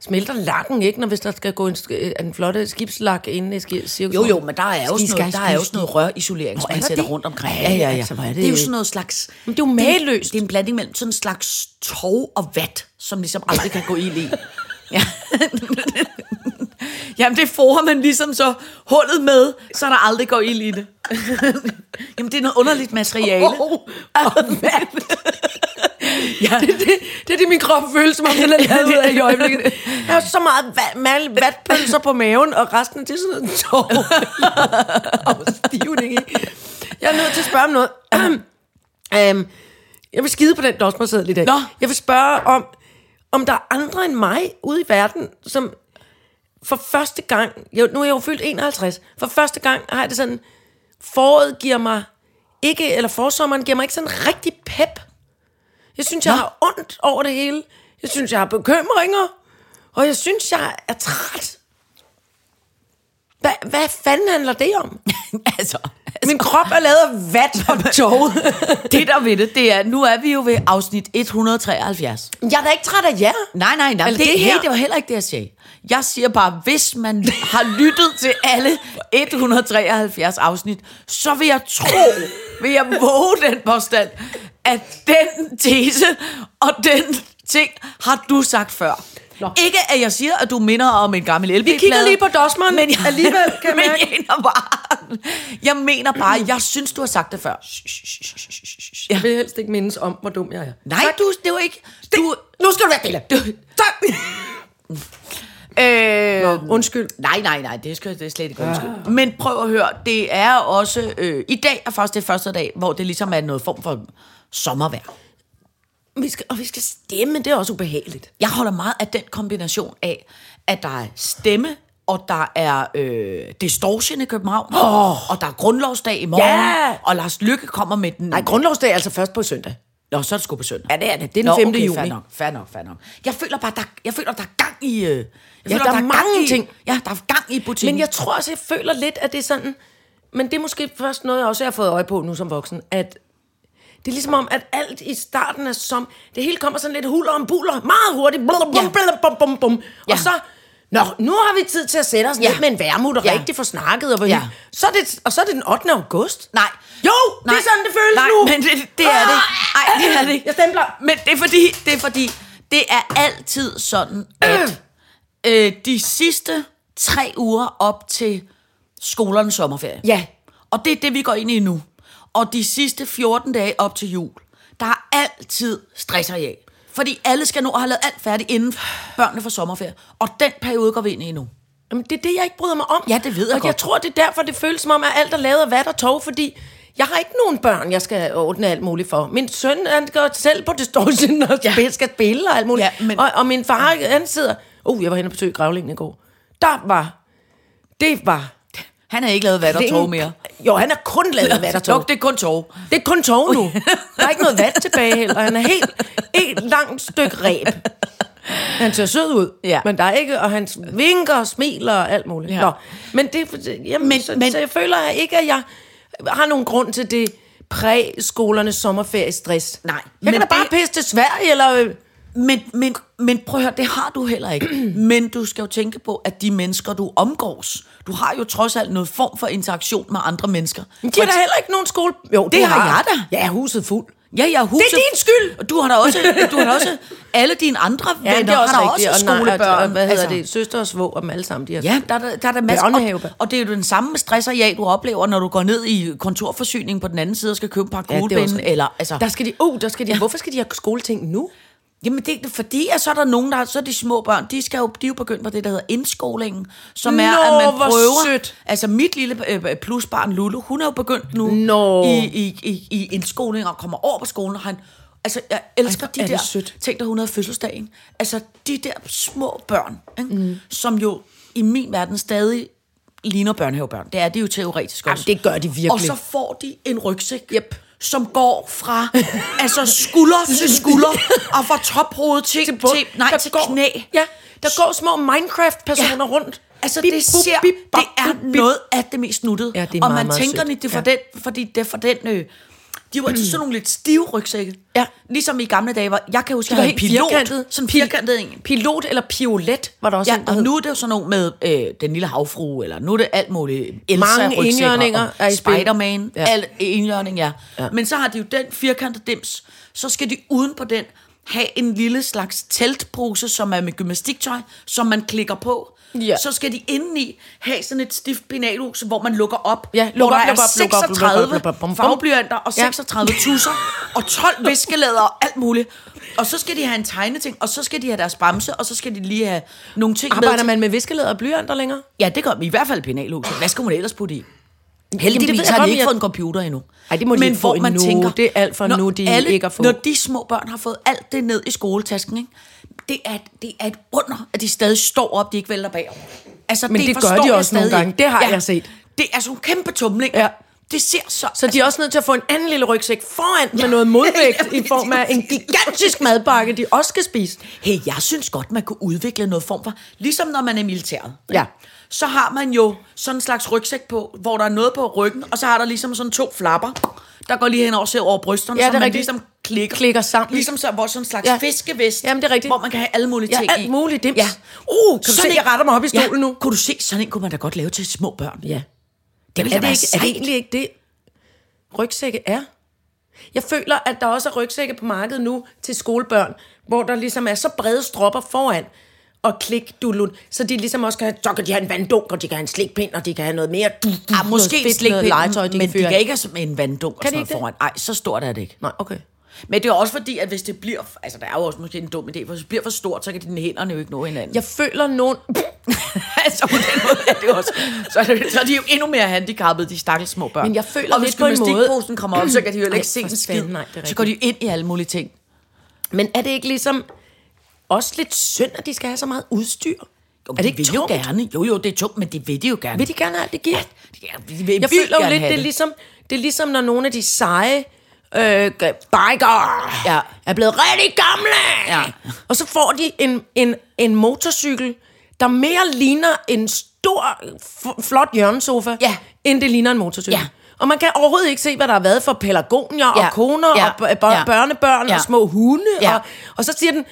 Speaker 3: smelter lakken ikke, når hvis der skal gå en, sk- en flotte skibslak ind i ski- cirkus?
Speaker 4: Jo, jo, men der er jo
Speaker 3: Ski,
Speaker 4: sådan
Speaker 3: sky,
Speaker 4: noget, der
Speaker 3: ski,
Speaker 4: er jo
Speaker 3: ski.
Speaker 4: sådan noget rørisolering, som
Speaker 3: er
Speaker 4: man
Speaker 3: der
Speaker 4: sætter
Speaker 3: det?
Speaker 4: rundt omkring.
Speaker 3: Ej, altså, hvor er det
Speaker 4: det er jo
Speaker 3: jo-
Speaker 4: sådan noget slags...
Speaker 3: Men det er jo mageløst.
Speaker 4: Det, det er en blanding mellem sådan en slags tov og vat, som ligesom aldrig kan gå ild i. Ja. Jamen, det får man ligesom så hullet med, så der aldrig går ild i det. Jamen, det er noget underligt materiale.
Speaker 3: Ja. Det, det, det, er det, min krop føles, som om den er lavet ud af i øjeblikket. Jeg har så meget va- mal- vatpølser på maven, og resten det er sådan noget tår. og stivning i. Jeg er nødt til at spørge om noget. um, jeg vil skide på den dosmerseddel i dag.
Speaker 4: Nå.
Speaker 3: Jeg vil spørge om, om der er andre end mig ude i verden, som for første gang, jeg, nu er jeg jo fyldt 51, for første gang har jeg det sådan, foråret giver mig ikke, eller forsommeren giver mig ikke sådan rigtig pep. Jeg synes, jeg har ondt over det hele. Jeg synes, jeg har bekymringer. Og jeg synes, jeg er træt. Hva, hvad fanden handler det om?
Speaker 4: altså,
Speaker 3: Min krop er lavet af vat og tog.
Speaker 4: det der ved det, det er, nu er vi jo ved afsnit 173.
Speaker 3: jeg er da ikke træt af jer.
Speaker 4: Nej, nej, nej.
Speaker 3: Eller
Speaker 4: Det, det,
Speaker 3: det her.
Speaker 4: her. det var heller ikke det, jeg sagde. Jeg siger bare, hvis man har lyttet til alle 173 afsnit, så vil jeg tro, vil jeg våge den påstand, at den tese og den ting har du sagt før. Nå. Ikke at jeg siger, at du minder om en gammel LP-plade.
Speaker 3: Vi kigger lige på dosmeren, men jeg, alligevel kan jeg
Speaker 4: men
Speaker 3: mærke.
Speaker 4: jeg mener bare, jeg mener bare, jeg synes, du har sagt det før.
Speaker 3: Jeg vil helst ikke mindes om, hvor dum jeg er.
Speaker 4: Nej, du, det var ikke... Du,
Speaker 3: Nu skal du være stille.
Speaker 4: du,
Speaker 3: Tak.
Speaker 4: øh,
Speaker 3: Nå, undskyld.
Speaker 4: Nej, nej, nej, det, skal, det er slet ikke undskyld. Men prøv at høre, det er også... Øh, I dag er faktisk det første dag, hvor det ligesom er noget form for sommervejr.
Speaker 3: Vi skal, og vi skal stemme, det er også ubehageligt.
Speaker 4: Jeg holder meget af den kombination af, at der er stemme, og der er øh, distortion i København, oh. og der er grundlovsdag i morgen,
Speaker 3: Ja!
Speaker 4: og Lars Lykke kommer med den...
Speaker 3: Nej, grundlovsdag er altså først på søndag.
Speaker 4: Nå, så er det sgu på søndag.
Speaker 3: Ja, det er det. Det er den 5.
Speaker 4: okay,
Speaker 3: juni.
Speaker 4: Fair nok, fair nok, fair nok. Jeg føler bare, der, jeg føler, der er gang i... Øh, jeg ja, føler,
Speaker 3: der er mange
Speaker 4: i,
Speaker 3: ting.
Speaker 4: Ja, der er gang i butikken.
Speaker 3: Men jeg tror også, jeg føler lidt, at det er sådan... Men det er måske først noget, jeg også har fået øje på nu som voksen, at det er ligesom om, at alt i starten er som... Det hele kommer sådan lidt huller om buller, meget hurtigt. Blum, blum,
Speaker 4: Ja.
Speaker 3: blum, blum, blum, blum. Ja.
Speaker 4: Ja.
Speaker 3: Og så... Nå, nu har vi tid til at sætte os ja.
Speaker 4: Ja.
Speaker 3: lidt med en værmut og
Speaker 4: Ja.
Speaker 3: ja. rigtig få snakket. Og,
Speaker 4: Ja.
Speaker 3: ja. så er det, og så er det den 8. august.
Speaker 4: Nej.
Speaker 3: Jo, Nej. det er sådan, det føles
Speaker 4: Nej,
Speaker 3: nu. Ah!
Speaker 4: men det, det er det. ikke. Nej, det er det. ikke.
Speaker 3: Jeg stempler.
Speaker 4: Men det er fordi, det er fordi, det er altid sådan, at øh, de sidste tre uger op til skolernes sommerferie.
Speaker 3: Ja.
Speaker 4: Og det er det, vi går ind i nu. Og de sidste 14 dage op til jul, der er altid stress og jag. Fordi alle skal nå at have lavet alt færdigt, inden børnene får sommerferie. Og den periode går vi ind i nu.
Speaker 3: Jamen, det er det, jeg ikke bryder mig om.
Speaker 4: Ja, det ved jeg
Speaker 3: og
Speaker 4: godt.
Speaker 3: jeg tror, det er derfor, det føles som om, at alt er lavet af vat og tov, fordi jeg har ikke nogen børn, jeg skal ordne alt muligt for. Min søn, han går selv på distortion og ja. spil, skal spille og alt muligt.
Speaker 4: Ja, men-
Speaker 3: og, og, min far, han sidder... Uh, jeg var henne og besøgte gravlingen i går. Der var... Det var...
Speaker 4: Han har ikke lavet hvad der tog mere.
Speaker 3: Jo, han er kun lavet af vat og tov.
Speaker 4: Nå, det er kun tog.
Speaker 3: Det er kun tov nu. Der er ikke noget vand tilbage heller. Han er helt et langt stykke ræb. Han ser sød ud,
Speaker 4: Ja.
Speaker 3: men der er ikke, og han vinker og smiler og alt muligt.
Speaker 4: Ja.
Speaker 3: Ja. Nå, men det, jamen, men, så,
Speaker 4: men-
Speaker 3: men, så jeg føler jeg ikke, at jeg har nogen grund til det præskolernes sommerferiestress.
Speaker 4: Nej,
Speaker 3: Jeg
Speaker 4: men
Speaker 3: kan da bare
Speaker 4: det-
Speaker 3: pisse til Sverige, eller... øh,
Speaker 4: Men, men, men prøv at høre, det har du heller ikke. Men du skal jo tænke på, at de mennesker, du omgås, du har jo trods alt noget form for interaktion med andre mennesker.
Speaker 3: Men de har da heller ikke nogen skole... Jo, du
Speaker 4: Det har jeg da.
Speaker 3: Jeg er huset fuld.
Speaker 4: Ja, ja, huset,
Speaker 3: Det er din skyld!
Speaker 4: Og du har da også, du har da også alle dine andre venner,
Speaker 3: Ja, det er også altså.
Speaker 4: har da
Speaker 3: rigtigt.
Speaker 4: også
Speaker 3: og nej,
Speaker 4: skolebørn.
Speaker 3: Og, og, hvad hedder det? Søster og svog og dem alle sammen. De har
Speaker 4: Ja, der er, der- der er der masser.
Speaker 3: Børnehave.
Speaker 4: Og, og det er jo den samme stress og ja, du oplever, når du går ned i kontorforsyningen på den anden side og skal købe en par
Speaker 3: det er også
Speaker 4: kuglepinde.
Speaker 3: rigtigt.
Speaker 4: eller, altså,
Speaker 3: Der skal de... Uh, der skal de... Hvorfor skal de have skoleting nu?
Speaker 4: Jamen det er fordi, at så er der nogen, der så er de små børn, de, skal jo, de er jo begyndt på det, der hedder indskolingen, som er,
Speaker 3: Nå,
Speaker 4: at man
Speaker 3: hvor
Speaker 4: prøver...
Speaker 3: sødt.
Speaker 4: Altså mit lille øh, plusbarn Lulu, hun er jo begyndt nu
Speaker 3: Nå.
Speaker 4: i, i, i, i indskoling og kommer over på skolen, og han... Altså, jeg elsker
Speaker 3: Ej, hvor
Speaker 4: de
Speaker 3: er det
Speaker 4: der...
Speaker 3: sødt.
Speaker 4: Tænk dig, hun havde fødselsdagen. Altså, de der små børn, ikke? Mm. som jo i min verden stadig ligner børnehavebørn. Det er det jo teoretisk også.
Speaker 3: Jamen, det gør de virkelig.
Speaker 4: Og så får de en rygsæk,
Speaker 3: Yep.
Speaker 4: som går fra altså skulder til skulder, og fra tophoved til, til,
Speaker 3: bund.
Speaker 4: til, nej,
Speaker 3: Der
Speaker 4: til
Speaker 3: går-
Speaker 4: knæ.
Speaker 3: Ja, der går små Minecraft-personer
Speaker 4: Ja.
Speaker 3: rundt.
Speaker 4: Altså,
Speaker 3: Bip,
Speaker 4: det,
Speaker 3: bup,
Speaker 4: ser,
Speaker 3: bip, bop,
Speaker 4: det er
Speaker 3: bip, bip.
Speaker 4: noget af det mest nuttede.
Speaker 3: Ja, det er
Speaker 4: og
Speaker 3: meget,
Speaker 4: man
Speaker 3: meget
Speaker 4: tænker
Speaker 3: sødt.
Speaker 4: lidt, det er for
Speaker 3: Ja.
Speaker 4: den, fordi det er for den... Øh, de var altid sådan nogle lidt stive rygsække.
Speaker 3: Ja.
Speaker 4: Ligesom i gamle dage, hvor jeg kan huske, jeg
Speaker 3: var
Speaker 4: var
Speaker 3: en
Speaker 4: helt
Speaker 3: pilot.
Speaker 4: firkantet. Sådan firkantet en.
Speaker 3: Pilot eller piolet var der også
Speaker 4: Ja,
Speaker 3: en, der
Speaker 4: og
Speaker 3: hed.
Speaker 4: nu er det jo sådan nogle med øh, den lille havfru, eller nu er det alt muligt. Elsa,
Speaker 3: Mange
Speaker 4: rygsækker
Speaker 3: indhjørninger
Speaker 4: og
Speaker 3: er i spil.
Speaker 4: Spider-Man,
Speaker 3: Ja.
Speaker 4: ja. alt indjørning, ja.
Speaker 3: Ja.
Speaker 4: ja. Men så har de jo den firkantede dims, så skal de uden på den have en lille slags teltpose, som er med gymnastiktøj, som man klikker på.
Speaker 3: Ja.
Speaker 4: Så skal de indeni have sådan et stift penalhus, hvor man lukker op,
Speaker 3: Ja,
Speaker 4: hvor
Speaker 3: lukker
Speaker 4: der
Speaker 3: op, lukker
Speaker 4: er
Speaker 3: op, lukker op, lukker op,
Speaker 4: 36
Speaker 3: lukker op, bum, bum.
Speaker 4: farveblyanter og
Speaker 3: Ja.
Speaker 4: 36 tusser og 12 viskelæder og alt muligt. Og så skal de have en tegneting, og så skal de have deres bamse, og så skal de lige have nogle ting med.
Speaker 3: Arbejder
Speaker 4: til-
Speaker 3: man med viskelæder og blyanter længere?
Speaker 4: Ja, det gør vi i hvert fald i penalhuset. Hvad skal hun ellers putte i?
Speaker 3: det ved
Speaker 4: Heldigvis
Speaker 3: jeg
Speaker 4: har
Speaker 3: godt,
Speaker 4: de
Speaker 3: men
Speaker 4: ikke
Speaker 3: jeg-
Speaker 4: fået en computer endnu.
Speaker 3: Ej, det må de ikke få endnu. Det er alt for
Speaker 4: når
Speaker 3: nu, de
Speaker 4: alle,
Speaker 3: ikke har fået.
Speaker 4: Når de små børn har fået alt det ned i skoletasken, ikke? Det, er, det er et under, at de stadig står op, de ikke vælter bagover. Altså,
Speaker 3: Men det gør
Speaker 4: forstår
Speaker 3: de
Speaker 4: jeg
Speaker 3: også nogle
Speaker 4: stadig
Speaker 3: gange.
Speaker 4: ikke.
Speaker 3: Det har jeg set.
Speaker 4: Det er sådan nogle kæmpe tumlinger.
Speaker 3: Ja.
Speaker 4: Det ser så...
Speaker 3: Så de er også nødt til at få en anden lille rygsæk foran med noget modvægt i form af en gigantisk madpakke, de også skal spise.
Speaker 4: Hey, jeg synes godt, man kunne udvikle noget form for... Ligesom når man er i militæret.
Speaker 3: Ja.
Speaker 4: Så har man jo sådan en slags rygsæk på, hvor der er noget på ryggen, og så har der ligesom sådan to flapper, der går lige hen over, over brysterne,
Speaker 3: Ja,
Speaker 4: så
Speaker 3: det er
Speaker 4: man
Speaker 3: rigtigt.
Speaker 4: ligesom klikker.
Speaker 3: Klikker sammen.
Speaker 4: Ligesom så, hvor sådan en slags
Speaker 3: Ja.
Speaker 4: ja. fiskevest,
Speaker 3: Jamen, det er rigtigt.
Speaker 4: hvor man kan have alle mulige
Speaker 3: Ja,
Speaker 4: ting
Speaker 3: alt
Speaker 4: i.
Speaker 3: muligt dims.
Speaker 4: Ja.
Speaker 3: Uh, kan du se,
Speaker 4: en-
Speaker 3: jeg retter mig op i stolen
Speaker 4: ja.
Speaker 3: nu?
Speaker 4: Kunne du se, sådan en kunne man da godt lave til små børn.
Speaker 3: Ja.
Speaker 4: Det ville
Speaker 3: Er
Speaker 4: da
Speaker 3: det,
Speaker 4: være
Speaker 3: ikke, er
Speaker 4: sejt.
Speaker 3: det egentlig ikke det, rygsække er? Jeg føler, at der også er rygsække på markedet nu til skolebørn, hvor der ligesom er så brede stropper foran og klik dulun, så de ligesom også kan have, så kan de have en vanddunk, og de kan have en slikpind, og de kan have noget mere du, du,
Speaker 4: Ja, Ah, måske
Speaker 3: noget fedt,
Speaker 4: slik,
Speaker 3: noget legetøj, de
Speaker 4: men
Speaker 3: kan føre
Speaker 4: de
Speaker 3: af.
Speaker 4: kan ikke have sådan en vanddunk og
Speaker 3: Kan de
Speaker 4: sådan noget
Speaker 3: ikke det?
Speaker 4: foran. Nej, så stort er det ikke.
Speaker 3: Nej, okay.
Speaker 4: Men det er også fordi, at hvis det bliver... Altså, der er jo også måske en dum idé, for hvis det bliver for stort, så kan dine hænderne jo ikke nå hinanden.
Speaker 3: Jeg føler nogen...
Speaker 4: altså, på den måde er det også... Så er, det, så er de jo endnu mere handicappede, de stakkels små børn.
Speaker 3: Men jeg føler
Speaker 4: Og hvis
Speaker 3: lidt på en måde-
Speaker 4: gymnastikposen kommer op, så kan de jo heller
Speaker 3: Ej,
Speaker 4: ikke se
Speaker 3: for
Speaker 4: en skid.
Speaker 3: fanden, nej, det er
Speaker 4: så går de jo ind i alle mulige ting.
Speaker 3: Men er det ikke ligesom også lidt synd, at de skal have så meget udstyr?
Speaker 4: Jo,
Speaker 3: er det ikke
Speaker 4: vil
Speaker 3: tungt?
Speaker 4: Jo, gerne. jo, jo, det er tungt, men det vil de jo gerne.
Speaker 3: Vil de gerne have alt det giver?
Speaker 4: Ja, de vil
Speaker 3: Jeg
Speaker 4: vildt
Speaker 3: føler jo
Speaker 4: gerne
Speaker 3: lidt,
Speaker 4: have
Speaker 3: det er, ligesom, det er ligesom, når nogle af de seje øh, biker
Speaker 4: Ja.
Speaker 3: er blevet rigtig gamle.
Speaker 4: Ja.
Speaker 3: Og så får de en, en, en motorcykel, der mere ligner en stor, f- flot hjørnesofa,
Speaker 4: Ja.
Speaker 3: end det ligner en motorcykel.
Speaker 4: Ja.
Speaker 3: Og man kan overhovedet ikke se, hvad der har været for pelargonier ja.
Speaker 4: Ja.
Speaker 3: og koner ja.
Speaker 4: Ja.
Speaker 3: og b- b-
Speaker 4: Ja.
Speaker 3: børnebørn ja.
Speaker 4: Ja.
Speaker 3: og små hunde.
Speaker 4: Ja.
Speaker 3: Og, og så siger den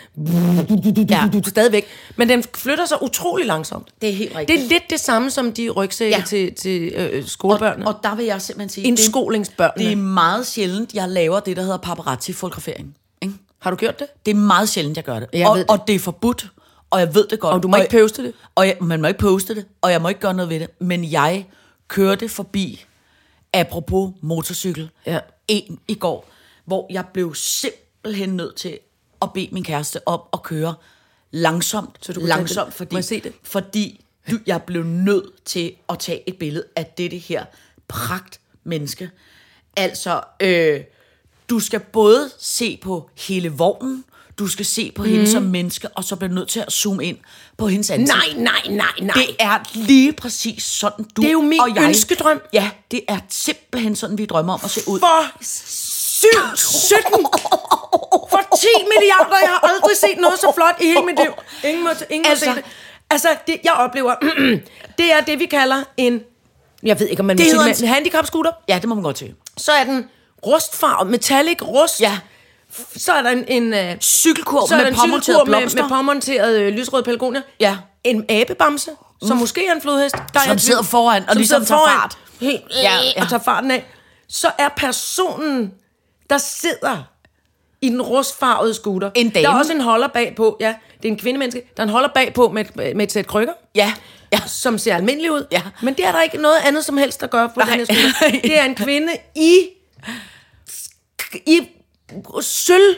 Speaker 3: ja. stadigvæk. Men den flytter sig utrolig langsomt.
Speaker 4: Det er helt rigtigt.
Speaker 3: Det er lidt det samme som de rygsække ja.
Speaker 4: Ja.
Speaker 3: til, til øh, skolebørnene.
Speaker 4: Og der vil jeg simpelthen sige... det-
Speaker 3: Indskolingsbørnene.
Speaker 4: Det er meget sjældent, jeg laver det, der hedder paparazzi-fotografering. Ikke?
Speaker 3: Har du gjort det?
Speaker 4: Det er meget sjældent, jeg gør det.
Speaker 3: Jeg
Speaker 4: og,
Speaker 3: ved det.
Speaker 4: og det er forbudt, og jeg ved det godt.
Speaker 3: Og du må ikke
Speaker 4: jeg-
Speaker 3: poste det?
Speaker 4: Og jeg, man må ikke poste det, og jeg må ikke gøre noget ved det. Men jeg kørte forbi, apropos motorcykel,
Speaker 3: Ja.
Speaker 4: en i går, hvor jeg blev simpelthen nødt til at bede min kæreste om at køre langsomt, så
Speaker 3: du
Speaker 4: du
Speaker 3: kunne tage
Speaker 4: langsomt,
Speaker 3: det.
Speaker 4: fordi,
Speaker 3: Må jeg se det?
Speaker 4: fordi du, jeg blev nødt til at tage et billede af dette her pragt menneske. Altså, øh, du skal både se på hele vognen, du skal se på mm. hende som menneske, og så bliver du nødt til at zoome ind på hendes ansigt.
Speaker 3: Mhm. Nej, nej, nej, nej.
Speaker 4: Det er lige præcis sådan, du
Speaker 3: Det er jo min
Speaker 4: og jeg,
Speaker 3: ønskedrøm.
Speaker 4: Ja, det er simpelthen sådan, vi drømmer om at se ud.
Speaker 3: For 7, 17, for 10 milliarder. Jeg har aldrig set noget så flot i hele mit liv. Ingen må, ingen altså,
Speaker 4: Altså-
Speaker 3: må se det. Altså, det, jeg oplever, det er det, vi kalder en, jeg ved ikke, om man må
Speaker 4: Det
Speaker 3: sige
Speaker 4: hedder
Speaker 3: det, men
Speaker 4: en-
Speaker 3: en handicap-scooter.
Speaker 4: Ja, det må man godt til.
Speaker 3: Så er den rustfarvet, metallic rust.
Speaker 4: Ja.
Speaker 3: Så er der en, en øh,
Speaker 4: Cykelkurv
Speaker 3: så er der
Speaker 4: med
Speaker 3: en cykelkur
Speaker 4: påmonteret
Speaker 3: med, med
Speaker 4: blomster,
Speaker 3: påmonteret øh, lysrød pelargonia.
Speaker 4: Ja.
Speaker 3: En abebamse, som måske er en flodhest. Der
Speaker 4: Som sidder foran og ligesom
Speaker 3: sidder
Speaker 4: tager fart.
Speaker 3: Helt, ja,
Speaker 4: Ja,
Speaker 3: ja.
Speaker 4: ja.
Speaker 3: Og tager farten af. Så er personen, der sidder i den rustfarvede scooter.
Speaker 4: En dame.
Speaker 3: Der er også en holder bagpå. Ja, det er en kvindemenneske. Der er en holder bagpå med, et- med et sæt krykker.
Speaker 4: Ja. Ja.
Speaker 3: Som ser almindelig ud.
Speaker 4: Ja.
Speaker 3: Men det er der ikke noget andet som helst, der gør på
Speaker 4: Nej.
Speaker 3: den her scooter. Det er en kvinde i... I sølv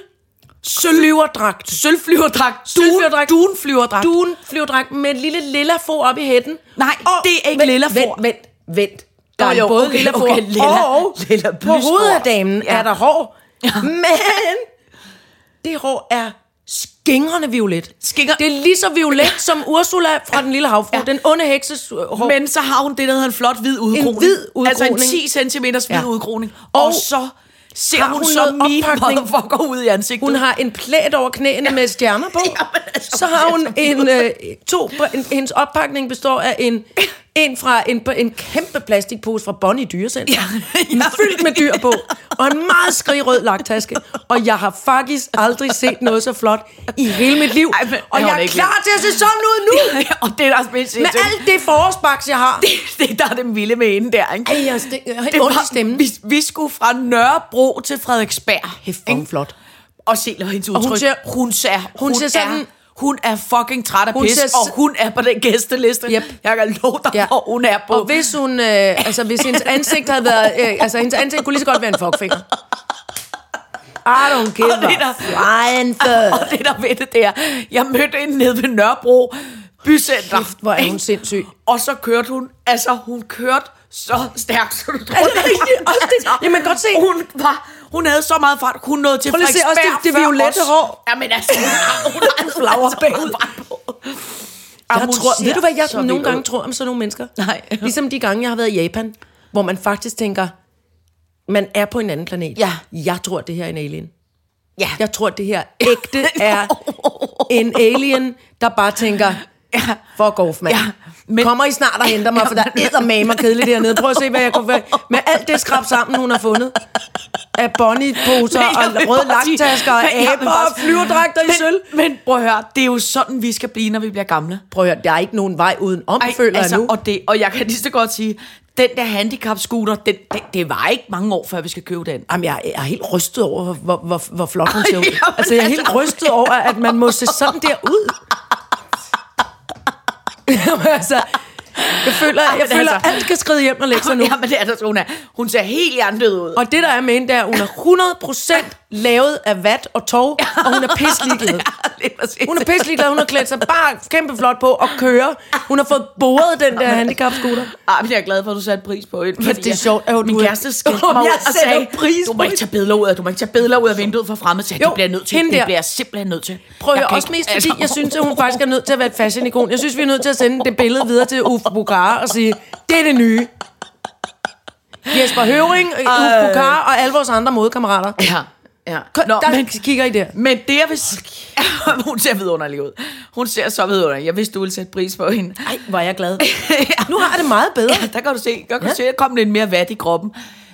Speaker 3: sølvflyverdragt.
Speaker 4: sølvflyverdragt,
Speaker 3: Sølvflyverdragt.
Speaker 4: duen, dunflyverdragt.
Speaker 3: Duen flyverdragt med en lille lilla få op i hætten.
Speaker 4: Nej, det er ikke
Speaker 3: vent,
Speaker 4: lilla får.
Speaker 3: Vent, vent, vent. Der
Speaker 4: Nå
Speaker 3: er
Speaker 4: jo,
Speaker 3: jo, både
Speaker 4: okay,
Speaker 3: lilla får
Speaker 4: okay, lilla-
Speaker 3: og
Speaker 4: lilla
Speaker 3: på hovedet af
Speaker 4: blysår.
Speaker 3: damen ja.
Speaker 4: Ja.
Speaker 3: er der hår. Men det hår er skingrende violet.
Speaker 4: Skinger-
Speaker 3: Det er lige så violet som Ursula fra Den Lille Havfru, ja. den onde hekses øh, hår.
Speaker 4: Men så har hun det, der hedder en flot hvid udkroning.
Speaker 3: hvid
Speaker 4: Altså en
Speaker 3: udkroning.
Speaker 4: 10 cm hvid
Speaker 3: Ja.
Speaker 4: ja. udkroning. Og,
Speaker 3: Og
Speaker 4: og så ser
Speaker 3: har
Speaker 4: hun,
Speaker 3: hun
Speaker 4: så
Speaker 3: noget
Speaker 4: min
Speaker 3: oppakning?
Speaker 4: motherfucker ud i ansigtet.
Speaker 3: Hun har en plæt over knæene ja. med stjerner på.
Speaker 4: Jamen, altså,
Speaker 3: så har hun
Speaker 4: det er så
Speaker 3: en, øh, to, en, hendes oppakning består af en, en fra en, en kæmpe plastikpose fra Bonnie Dyrecenter.
Speaker 4: Ja.
Speaker 3: Den er fyldt med dyr på, og en meget skrigrød lagtaske. Og jeg har faktisk aldrig set noget så flot i hele mit liv.
Speaker 4: Ej, men-
Speaker 3: og
Speaker 4: Ej, hun
Speaker 3: jeg
Speaker 4: er
Speaker 3: er
Speaker 4: ikke
Speaker 3: klar til at se sådan ud nu,
Speaker 4: og det er der spændt
Speaker 3: med alt det forårsbaks, jeg har.
Speaker 4: det, det, der er det vilde med hende der, ikke?
Speaker 3: Ej, jeg stæ- jeg har helt
Speaker 4: Det
Speaker 3: ondt i
Speaker 4: var-
Speaker 3: stemmen.
Speaker 4: Vi, vi skulle fra Nørrebro til Frederiksberg.
Speaker 3: Hæft, hvor er hun
Speaker 4: ikke?
Speaker 3: flot.
Speaker 4: Og se og hendes udtryk.
Speaker 3: hun ser-
Speaker 4: hun ser, hun,
Speaker 3: ser
Speaker 4: er-
Speaker 3: sådan-
Speaker 4: hun er fucking træt af
Speaker 3: Hun
Speaker 4: pis,
Speaker 3: ser s-
Speaker 4: og hun er på den gæsteliste.
Speaker 3: Yep.
Speaker 4: Jeg kan love dig, ja. hvor hun er på.
Speaker 3: Og hvis hun, øh, altså hvis hendes ansigt havde været, øh, altså hendes ansigt kunne lige så godt være en fuckfinger. I don't give
Speaker 4: Og det
Speaker 3: a
Speaker 4: der-
Speaker 3: flying
Speaker 4: og
Speaker 3: fuck.
Speaker 4: det der ved det, det er, jeg mødte hende nede ved Nørrebro bycenter.
Speaker 3: Kæft, hvor er hun
Speaker 4: ikke?
Speaker 3: sindssyg.
Speaker 4: Og så kørte hun, altså hun kørte så stærkt, som du troede.
Speaker 3: det rigtigt? Også Altså, det- Jamen, godt se.
Speaker 4: Hun, var, hun havde så meget fart, hun nåede til
Speaker 3: Prøv lige at se, også det-
Speaker 4: Frederiksberg
Speaker 3: det
Speaker 4: før
Speaker 3: violette
Speaker 4: os.
Speaker 3: hår.
Speaker 4: Jamen altså, hun har- hun har altså en
Speaker 3: Flagerpæl.
Speaker 4: flagerpæl.
Speaker 3: Jeg tror, ved du hvad jeg nogle gange tror om sådan nogle mennesker?
Speaker 4: Nej.
Speaker 3: Ligesom de gange, jeg har været i Japan, hvor man faktisk tænker, man er på en anden planet.
Speaker 4: Ja.
Speaker 3: Jeg tror, det her er en alien.
Speaker 4: Ja.
Speaker 3: Jeg tror, det her ægte er en alien, der bare tænker, fuck off, mand.
Speaker 4: Ja,
Speaker 3: Men,
Speaker 4: men-
Speaker 3: Kommer I snart og henter mig, for der er eddermame og kedeligt dernede. Prøv at se, hvad jeg kunne være. Med alt det skrab sammen, hun har fundet. Af bonnie-poser
Speaker 4: Nej, jeg vil
Speaker 3: og røde
Speaker 4: bare sige-
Speaker 3: langtasker og
Speaker 4: Men jeg vil
Speaker 3: aber
Speaker 4: bare-
Speaker 3: og flyverdragter i
Speaker 4: men,
Speaker 3: sølv.
Speaker 4: Men prøv at høre, det er jo sådan, vi skal blive, når vi bliver gamle.
Speaker 3: Prøv at høre, der er ikke nogen vej uden om,
Speaker 4: Ej, altså,
Speaker 3: føler jeg nu.
Speaker 4: Og, det, og jeg kan lige så godt sige, den der handicap-scooter, den, den, det var ikke mange år, før vi skal købe den.
Speaker 3: Jamen, jeg er helt rystet over, hvor, hvor, hvor, hvor flot hun ser
Speaker 4: Ej,
Speaker 3: ud.
Speaker 4: jamen,
Speaker 3: Altså, jeg er helt
Speaker 4: altså.
Speaker 3: rystet over, at man må se sådan der ud. Jamen, altså, jeg føler, jeg
Speaker 4: men
Speaker 3: føler
Speaker 4: altså.
Speaker 3: alt skal skride hjem og lægge sig nu.
Speaker 4: Ja, men det er altså, hun, er, hun ser helt hjernedød ud.
Speaker 3: Og det, der er med hende, det er, at hun er 100% lavet af vat og tov, og hun er pisseligeglad. Hun er pisseligeglad, hun har klædt sig bare kæmpe flot på og kører. Hun har fået boret den der handicapscooter.
Speaker 4: Ej, Ah, men jeg er glad for, at du satte pris på det.
Speaker 3: det er sjovt, at hun-
Speaker 4: min kæreste skældte
Speaker 3: Om
Speaker 4: mig ud
Speaker 3: jeg
Speaker 4: og
Speaker 3: sætter
Speaker 4: sagde,
Speaker 3: pris
Speaker 4: du
Speaker 3: på
Speaker 4: må ikke tage billeder ud af, du må ikke tage billeder ud af vinduet fra fremmede. Så
Speaker 3: Jo,
Speaker 4: det bliver jeg nødt til.
Speaker 3: hende
Speaker 4: Det
Speaker 3: der.
Speaker 4: bliver jeg simpelthen nødt til.
Speaker 3: Prøv at
Speaker 4: Jeg
Speaker 3: høre,
Speaker 4: kan
Speaker 3: også
Speaker 4: ikke-
Speaker 3: mest
Speaker 4: altså-
Speaker 3: fordi, jeg synes, at hun faktisk er nødt til at være et fashion-ikon. Jeg synes, vi er nødt til at sende det billede videre til Uffe Bukar og sige, det er det nye. Jesper Høring, øh, Uffe Bukar og alle vores andre modkammerater.
Speaker 4: Ja, ja.
Speaker 3: Nå, der
Speaker 4: men-
Speaker 3: kigger I der.
Speaker 4: Men det, jeg vil... hun ser vidunderlig ud. Hun ser så vidunderlig. Jeg vidste, du ville sætte pris på hende.
Speaker 3: Ej, hvor er jeg glad. Nu har jeg det meget bedre.
Speaker 4: Ja, der kan du se, der kan
Speaker 3: Ja.
Speaker 4: ja. du se, der kom lidt mere vat i kroppen.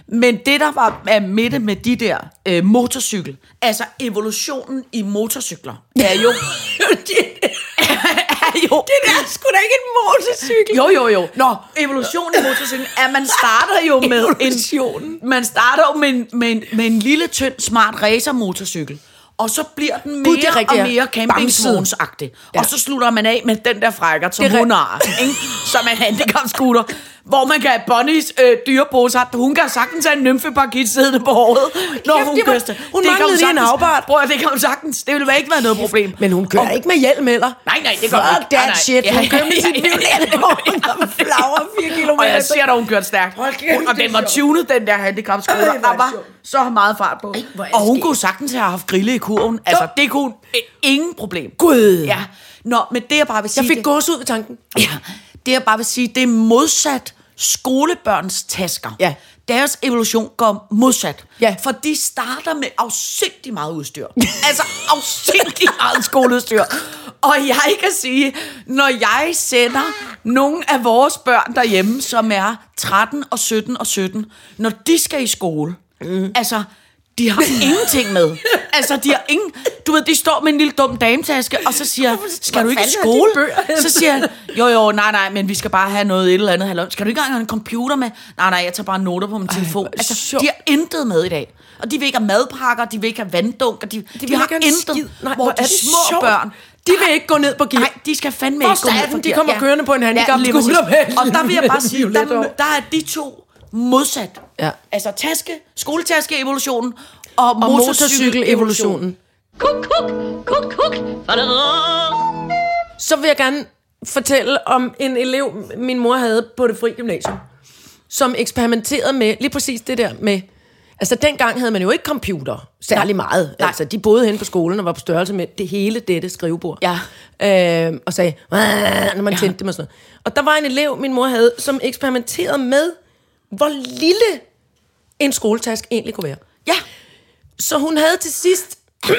Speaker 4: Men det, der var af midte med de der øh, motorcykel, altså evolutionen i motorcykler, er jo... er jo det der er sgu da ikke en motorcykel. Jo, jo, jo. Nå, evolutionen i motorcyklen, er, at man starter jo med en... Man starter jo med en, med en, med en lille, tynd, smart racermotorcykel. Og så bliver den mere
Speaker 3: Gud, det er rigtigt, ja.
Speaker 4: og mere campingsvognsagtig. Ja. Og så slutter man af med den der frækker, som
Speaker 3: Det er
Speaker 4: hun
Speaker 3: ri-
Speaker 4: har, ikke? som er en handicapscooter, hvor man kan have Bonnies øh, dyreposer. Hun kan sagtens have en nymfeparkit siddende på håret, når
Speaker 3: Kæft,
Speaker 4: hun
Speaker 3: det var-
Speaker 4: kørte.
Speaker 3: hun manglede lige en havbart.
Speaker 4: Bror, det kan hun sagtens. Det ville ikke være noget problem.
Speaker 3: Men hun kører
Speaker 4: Og-
Speaker 3: ikke med hjelm heller.
Speaker 4: Nej, nej, det gør hun
Speaker 3: Fuck
Speaker 4: ikke. Nej,
Speaker 3: that
Speaker 4: nej.
Speaker 3: shit.
Speaker 4: Ja,
Speaker 3: Hun kører med
Speaker 4: ja,
Speaker 3: sit
Speaker 4: ja,
Speaker 3: violet
Speaker 4: ja.
Speaker 3: hår, og flager 4 km.
Speaker 4: Og jeg ser, at hun kørte stærkt. Hun, og den var tunet, den der handicapscooter.
Speaker 3: Ej, hvor er
Speaker 4: Der var
Speaker 3: det sjovt.
Speaker 4: så meget fart på.
Speaker 3: hvor er det
Speaker 4: Og hun
Speaker 3: skægt.
Speaker 4: kunne sagtens have haft grille i kurven. Altså, det kunne hun. Øh, Ingen problem.
Speaker 3: Gud.
Speaker 4: Ja. Nå, men det jeg bare vil sige...
Speaker 3: Jeg
Speaker 4: det-
Speaker 3: fik gås ud ved tanken.
Speaker 4: Ja, det jeg bare vil sige, det er modsat skolebørns tasker.
Speaker 3: Ja.
Speaker 4: Deres evolution går modsat.
Speaker 3: Ja.
Speaker 4: For de starter med afsindig meget udstyr. altså afsindig meget skoleudstyr. Og jeg kan sige, når jeg sender nogle af vores børn derhjemme, som er 13 og 17 og 17, når de skal i skole, mm. altså, de har ingenting med. Altså, de har ingen... Du ved, de står med en lille dum dametaske, og så siger jeg, skal du ikke i
Speaker 3: fanden er de
Speaker 4: skole?
Speaker 3: bøger henne?
Speaker 4: Så siger han, jo jo, nej nej, men vi skal bare have noget et eller andet. Halløj. Skal du ikke engang have en computer med? Nej nej, jeg tager bare noter på min telefon.
Speaker 3: hvor er det
Speaker 4: Altså,
Speaker 3: sjovt.
Speaker 4: de har intet med i dag. Og de vil ikke have madpakker, de vil ikke have vanddunker, de, de, de
Speaker 3: vil
Speaker 4: har
Speaker 3: ikke have en skid.
Speaker 4: intet.
Speaker 3: Nej,
Speaker 4: hvor
Speaker 3: hvor er
Speaker 4: de
Speaker 3: det
Speaker 4: små
Speaker 3: sjovt.
Speaker 4: børn,
Speaker 3: De vil ikke gå ned på gear.
Speaker 4: Nej, de skal fandme
Speaker 3: For
Speaker 4: ikke gå ned
Speaker 3: satan,
Speaker 4: for
Speaker 3: de
Speaker 4: gear.
Speaker 3: kommer kørende på en handicapscooter
Speaker 4: lige præcis.
Speaker 3: med-
Speaker 4: Og der vil jeg bare sige,
Speaker 3: med
Speaker 4: der,
Speaker 3: violet hår.
Speaker 4: der er de to modsat.
Speaker 3: Ja.
Speaker 4: Altså taske, skoletaske-evolutionen og, og
Speaker 3: motorcykel-evolutionen.
Speaker 4: motorcykel-evolutionen.
Speaker 2: Kuk, kuk, kuk, kuk.
Speaker 3: så vil jeg gerne fortælle om en elev, min mor havde på det frie gymnasium, som eksperimenterede med lige præcis det der med, Altså, dengang havde man jo ikke computer særlig meget.
Speaker 4: Nej.
Speaker 3: Altså, de boede hen på skolen og var på størrelse med det hele dette skrivebord. Ja. Øh, og sagde, "Wah", når man ja. tændte dem og sådan noget. Og der var en elev, min mor havde, som eksperimenterede med, hvor lille en skoletask egentlig kunne være.
Speaker 4: Ja.
Speaker 3: Så hun havde til sidst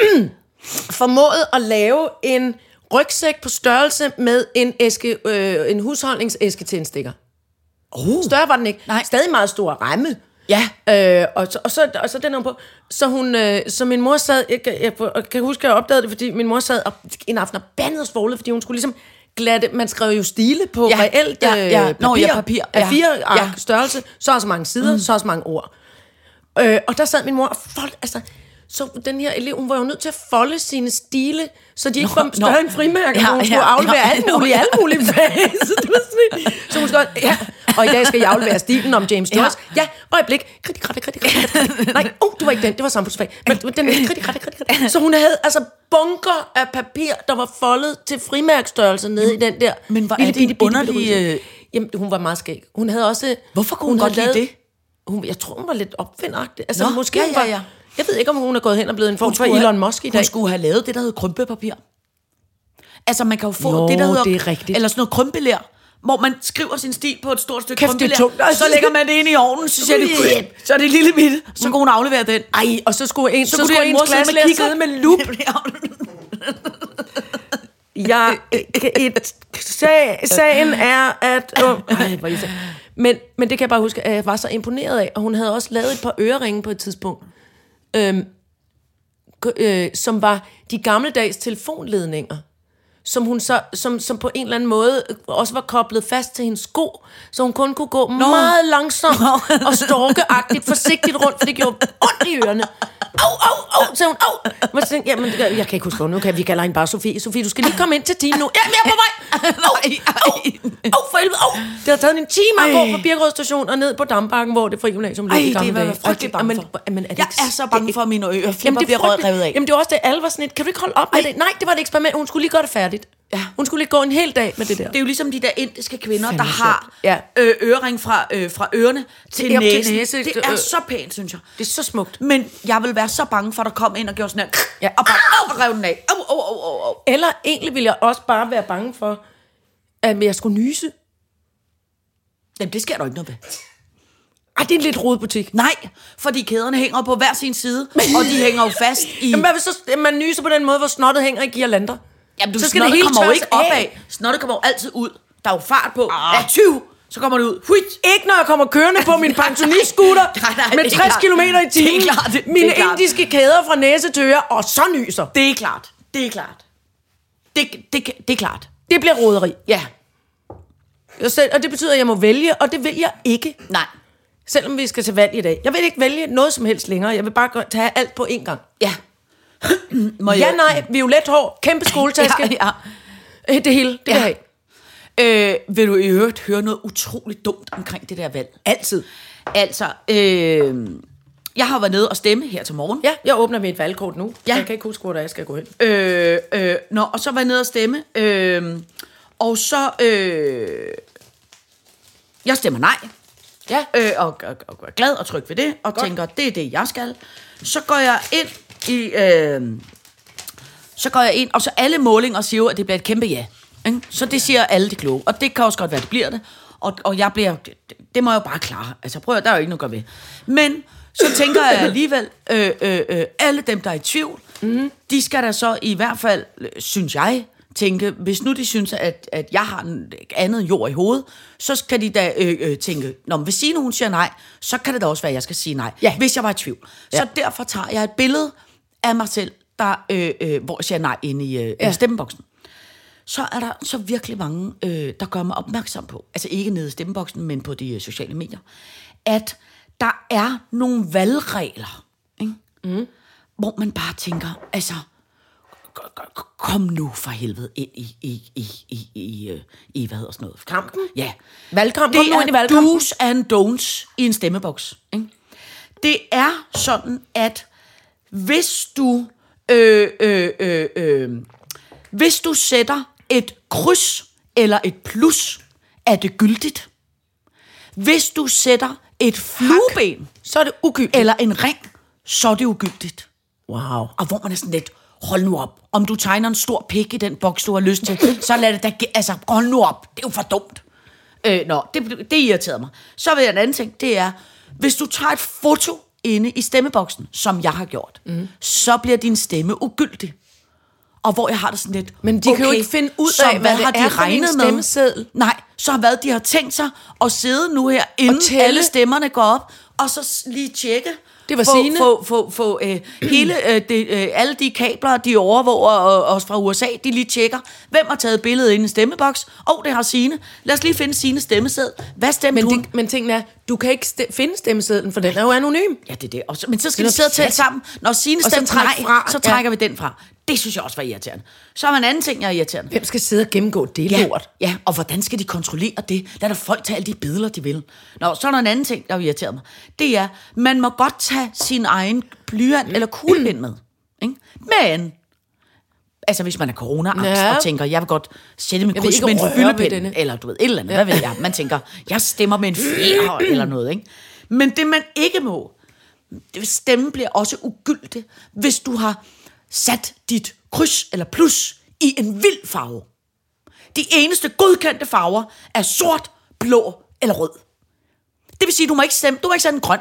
Speaker 3: formået at lave en rygsæk på størrelse med en, æske, øh, en husholdningsæske til en stikker.
Speaker 4: Oh.
Speaker 3: Større var den ikke.
Speaker 4: Nej.
Speaker 3: Stadig meget stor ramme.
Speaker 4: Ja.
Speaker 3: Øh, og, så, og, så, og så den her på. Så, hun, øh, så min mor sad, jeg, kan- jeg, jeg kan huske, at jeg opdagede det, fordi min mor sad og, en aften og bandede og svoglede, fordi hun skulle ligesom glatte, man skrev jo stile på
Speaker 4: Ja,
Speaker 3: reelt
Speaker 4: ja,
Speaker 3: øh,
Speaker 4: ja.
Speaker 3: papir,
Speaker 4: Nå, ja, papir, ja.
Speaker 3: af fire ark
Speaker 4: Ja.
Speaker 3: størrelse, så og så mange sider, mm. så og så mange ord. Øh, og der sad min mor og fold, altså, så den her elev, hun var jo nødt til at folde sine stile, så de ikke
Speaker 4: Nå,
Speaker 3: var større
Speaker 4: nå.
Speaker 3: end frimærker,
Speaker 4: Ja,
Speaker 3: ja, hun
Speaker 4: ja,
Speaker 3: skulle ja, aflevere
Speaker 4: nå,
Speaker 3: alt muligt,
Speaker 4: nå.
Speaker 3: alle mulige fag. Så det var sådan, lidt- så hun skulle, også- ja. Og i dag skal jeg aflevere stilen om James Joyce. Ja, ja øjeblik. Kritik, kritik, kritik, kritik, kritik. Nej, oh, det var ikke den, det var samfundsfag. Men men den kritik, kritik, kritik, kritik. Så hun havde altså bunker af papir, der var foldet til frimærkstørrelse nede i den der
Speaker 4: Men hvor er det en underlig,
Speaker 3: rygsæk.
Speaker 4: øh,
Speaker 3: Jamen, hun var meget skæg. Hun havde også...
Speaker 4: Hvorfor kunne hun
Speaker 3: havde
Speaker 4: godt lide
Speaker 3: lavet-
Speaker 4: det?
Speaker 3: Hun, jeg tror, hun var lidt opfindagtig. Altså,
Speaker 4: Nå,
Speaker 3: Nå, måske
Speaker 4: ja,
Speaker 3: hun
Speaker 4: ja,
Speaker 3: var,
Speaker 4: ja.
Speaker 3: Jeg ved ikke, om hun er gået hen og blevet en form for
Speaker 4: have-
Speaker 3: Elon Musk i dag.
Speaker 4: Hun skulle have lavet det, der hedder krympepapir. Altså, man kan jo få
Speaker 3: Nå,
Speaker 4: det, der hedder...
Speaker 3: det er rigtigt.
Speaker 4: Eller sådan noget krympeler, hvor man skriver sin stil på et stort stykke
Speaker 3: Kæft, det er
Speaker 4: krympeler.
Speaker 3: tungt, altså.
Speaker 4: Så lægger man det ind i ovnen, så siger det...
Speaker 3: Ui.
Speaker 4: Så er det lille bitte. Så kan hun aflevere den. Ej,
Speaker 3: Mm. Ej, og så skulle en, så,
Speaker 4: så,
Speaker 3: så
Speaker 4: kunne
Speaker 3: skulle
Speaker 4: det
Speaker 3: ens klasselærer sidde med lup. Jeg, et, sag, sagen er, at... Oh, ej, hvor er I sag. men, men det kan jeg bare huske, at jeg var så imponeret af. Og hun havde også lavet et par øreringe på et tidspunkt, øhm, k- øh, som var de gammeldags telefonledninger som hun så, som, som på en eller anden måde også var koblet fast til hendes sko, så hun kun kunne gå Nå. meget langsomt Nå. og storkeagtigt, forsigtigt rundt, for det gjorde ondt i ørerne. Au, au, au, sagde hun, au. Men så tænkte, jeg, jamen, det gør- jeg kan ikke huske, hvor nu kan vi kalder hende bare Sofie. Sofie, du skal lige komme ind til timen nu. Jamen, jeg er på vej. Au, au, au, for helvede, au. Det har taget en time at
Speaker 4: Ej.
Speaker 3: gå fra Birkerød station og ned på Dambakken, hvor det fri gymnasium lå
Speaker 4: Ej,
Speaker 3: i
Speaker 4: det
Speaker 3: gamle
Speaker 4: var
Speaker 3: dage.
Speaker 4: jeg frygtelig
Speaker 3: Og det-
Speaker 4: bange
Speaker 3: jamen,
Speaker 4: for.
Speaker 3: Jamen, er det
Speaker 4: Jeg
Speaker 3: ikke-
Speaker 4: er så
Speaker 3: det-
Speaker 4: bange for, at mine
Speaker 3: Jamen,
Speaker 4: øreflipper
Speaker 3: det er
Speaker 4: bliver rød-
Speaker 3: frygteligt.
Speaker 4: revet af.
Speaker 3: Jamen, det var også det, alle var sådan lidt, kan du ikke holde op med det? Nej, det var et eksperiment, hun skulle lige gøre det færdigt. Ja. Hun skulle lige gå en hel dag med det der.
Speaker 4: Det er jo ligesom de der indiske kvinder,
Speaker 3: Fandme
Speaker 4: der har
Speaker 3: sjovt.
Speaker 4: øh, ørering fra, øh, fra ørerne til
Speaker 3: Ja, til
Speaker 4: næsen.
Speaker 3: næse.
Speaker 4: Det
Speaker 3: Det,
Speaker 4: er
Speaker 3: øh,
Speaker 4: så pænt, synes jeg.
Speaker 3: det er så smukt.
Speaker 4: Men jeg vil være så bange for, at der kom ind og gjorde sådan her.
Speaker 3: Ja.
Speaker 4: Ja. Og bare au, rev den af. Au, au, au, au, au.
Speaker 3: Eller egentlig ville jeg også bare være bange for, at jeg skulle nyse.
Speaker 4: Jamen, det sker der ikke noget ved.
Speaker 3: Ej, det er en lidt rodet butik.
Speaker 4: Nej, fordi kæderne hænger på hver sin side, og de hænger jo fast i...
Speaker 3: Jamen, hvad hvis så, man nyser på den måde, hvor snottet hænger i girlander?
Speaker 4: Jamen, du,
Speaker 3: så skal det hele
Speaker 4: kommer jo
Speaker 3: tørres
Speaker 4: ikke opad.
Speaker 3: af.
Speaker 4: Snottet kommer jo altid ud. Der er jo fart på.
Speaker 3: Ah.
Speaker 4: Ja, 20, så kommer det ud. Huit.
Speaker 3: Ikke når jeg kommer kørende på min pensionistskuter
Speaker 4: Nej, nej,
Speaker 3: med
Speaker 4: det er
Speaker 3: 60
Speaker 4: klart.
Speaker 3: km i
Speaker 4: Det er
Speaker 3: timen,
Speaker 4: klart, det- det er
Speaker 3: mine
Speaker 4: klart.
Speaker 3: indiske kæder fra næse til øre, og så nyser.
Speaker 4: Det er klart. Det er klart. Det, det, det er klart.
Speaker 3: Det bliver roderi.
Speaker 4: Ja.
Speaker 3: Og selv- Og det betyder, at jeg må vælge, og det vil jeg ikke.
Speaker 4: Nej.
Speaker 3: Selvom vi skal til valg i dag. Jeg vil ikke vælge noget som helst længere. Jeg vil bare gå- tage alt på én gang.
Speaker 4: Ja. Må
Speaker 3: Ja, nej, violet hår, kæmpe skoletaske,
Speaker 4: Ja,
Speaker 3: ja. det hele, det vil jeg
Speaker 4: Ja.
Speaker 3: have.
Speaker 4: ja. Øh, vil du i øvrigt høre noget utroligt dumt omkring det der valg? Altid. Altså, øh, jeg har været nede og stemme her til morgen.
Speaker 3: Ja, jeg åbner mit valgkort nu. Ja.
Speaker 4: Ja.
Speaker 3: Jeg kan ikke huske, hvor der er, jeg skal gå hen.
Speaker 4: Øh, øh, nå, og så var jeg nede og stemme. Øh, og så... Øh, jeg stemmer nej.
Speaker 3: Ja.
Speaker 4: øh, og, og, og er glad og tryg ved det, og Godt. tænker, det er det, jeg skal. Så går jeg ind i... Øh, så går jeg ind, og så alle målinger siger jo, at det bliver et kæmpe ja. Ikke? Så det siger alle de kloge, og det kan også godt være, det bliver det. Og, og jeg bliver... Det, det må jeg jo bare klare. Altså prøv at, der er jo ikke noget at gøre ved. Men så tænker jeg alligevel, øh, øh, øh, alle dem, der er i tvivl, mm. de skal da så i hvert fald, øh, synes jeg, tænke, hvis nu de synes, at, at jeg har en andet jord i hovedet, så skal de da øh, øh, tænke, Nå, men hvis Signe hun siger nej, så kan det da også være, at jeg skal sige nej,
Speaker 3: Ja.
Speaker 4: hvis jeg var i tvivl. Ja. Så derfor tager jeg et billede af mig selv, der, øh, øh, hvor jeg siger nej inde i øh, ja. stemmeboksen. Så er der så virkelig mange, øh, der gør mig opmærksom på, altså ikke nede i stemmeboksen, men på de øh, sociale medier, at der er nogle valgregler, ikke? Mm. hvor man bare tænker, altså, k- k- kom nu for helvede ind i, i, i, i, i, øh, i hvad hedder sådan noget?
Speaker 3: Kampen?
Speaker 4: Ja.
Speaker 3: Valgkamp, kom nu ind i
Speaker 4: Det er
Speaker 3: valgkampen.
Speaker 4: do's and don'ts i en stemmeboks. Ikke? Det er sådan, at hvis du, øh, øh, øh, øh, hvis du sætter et kryds eller et plus, er det gyldigt. Hvis du sætter et flueben,
Speaker 3: så er det ugyldigt.
Speaker 4: eller en ring, så er det ugyldigt.
Speaker 3: Wow.
Speaker 4: Og hvor man er sådan lidt, hold nu op. Om du tegner en stor pik i den boks, du har lyst til, så lad det da... ge- Altså, hold nu op. Det er jo for dumt. Øh, nå, det, det irriterede mig. Så vil jeg en anden ting, det er, hvis du tager et foto inde i stemmeboksen, som jeg har gjort,
Speaker 3: Mhm.
Speaker 4: mm. så bliver din stemme ugyldig. Og hvor jeg har det sådan lidt...
Speaker 3: Men de kan jo ikke finde ud
Speaker 4: så
Speaker 3: af, hvad det er for en
Speaker 4: med?
Speaker 3: stemmeseddel.
Speaker 4: Nej, så har hvad de har tænkt sig at sidde nu her, inden
Speaker 3: tælle.
Speaker 4: alle stemmerne går op, og så s- lige tjekke.
Speaker 3: Det var
Speaker 4: få,
Speaker 3: Signe.
Speaker 4: Få, få, få øh, hele, øh, det, øh, alle de kabler, de overvåger øh, os fra USA, de lige tjekker, hvem har taget billedet ind i stemmeboks. Åh, oh, det har Signe. Lad os lige finde Sines stemmesed. Hvad stemte
Speaker 3: Men,
Speaker 4: hun?
Speaker 3: det, men tingen er, du kan ikke ste- finde stemmesedlen, for den er jo anonym.
Speaker 4: Ja, det er det. Og så, men så skal
Speaker 3: Det er
Speaker 4: de sidde og
Speaker 3: noget
Speaker 4: tælle
Speaker 3: pjat.
Speaker 4: sammen. Når Signe
Speaker 3: Og så
Speaker 4: stemte
Speaker 3: trække
Speaker 4: nej,
Speaker 3: fra.
Speaker 4: så
Speaker 3: Ja.
Speaker 4: trækker vi den fra. Det synes jeg også var irriterende. Så er der en anden ting, jeg er irriterende.
Speaker 3: Hvem skal sidde og gennemgå det
Speaker 4: Ja,
Speaker 3: lort?
Speaker 4: ja, og hvordan skal de kontrollere det? Lad da folk tage alle de billeder, de vil. Nå, så er der en anden ting, der irriterer mig. Det er, man må godt tage sin egen blyant eller kuglepind med. Ikke? Men, altså hvis man er corona
Speaker 3: Ja.
Speaker 4: og tænker, jeg vil godt sætte min
Speaker 3: Jeg vil
Speaker 4: kryds
Speaker 3: ikke
Speaker 4: med en
Speaker 3: røre ved
Speaker 4: fyldepind,
Speaker 3: denne.
Speaker 4: eller du ved, et eller andet, ja. hvad ved jeg. Man tænker, jeg stemmer med en fjer eller noget, ikke? Men det man ikke må, stemmen bliver også ugyldig, hvis du har sat dit kryds eller plus i en vild farve. De eneste godkendte farver er sort, blå eller rød. Det vil sige, du må ikke stemme, du må ikke stemme grøn.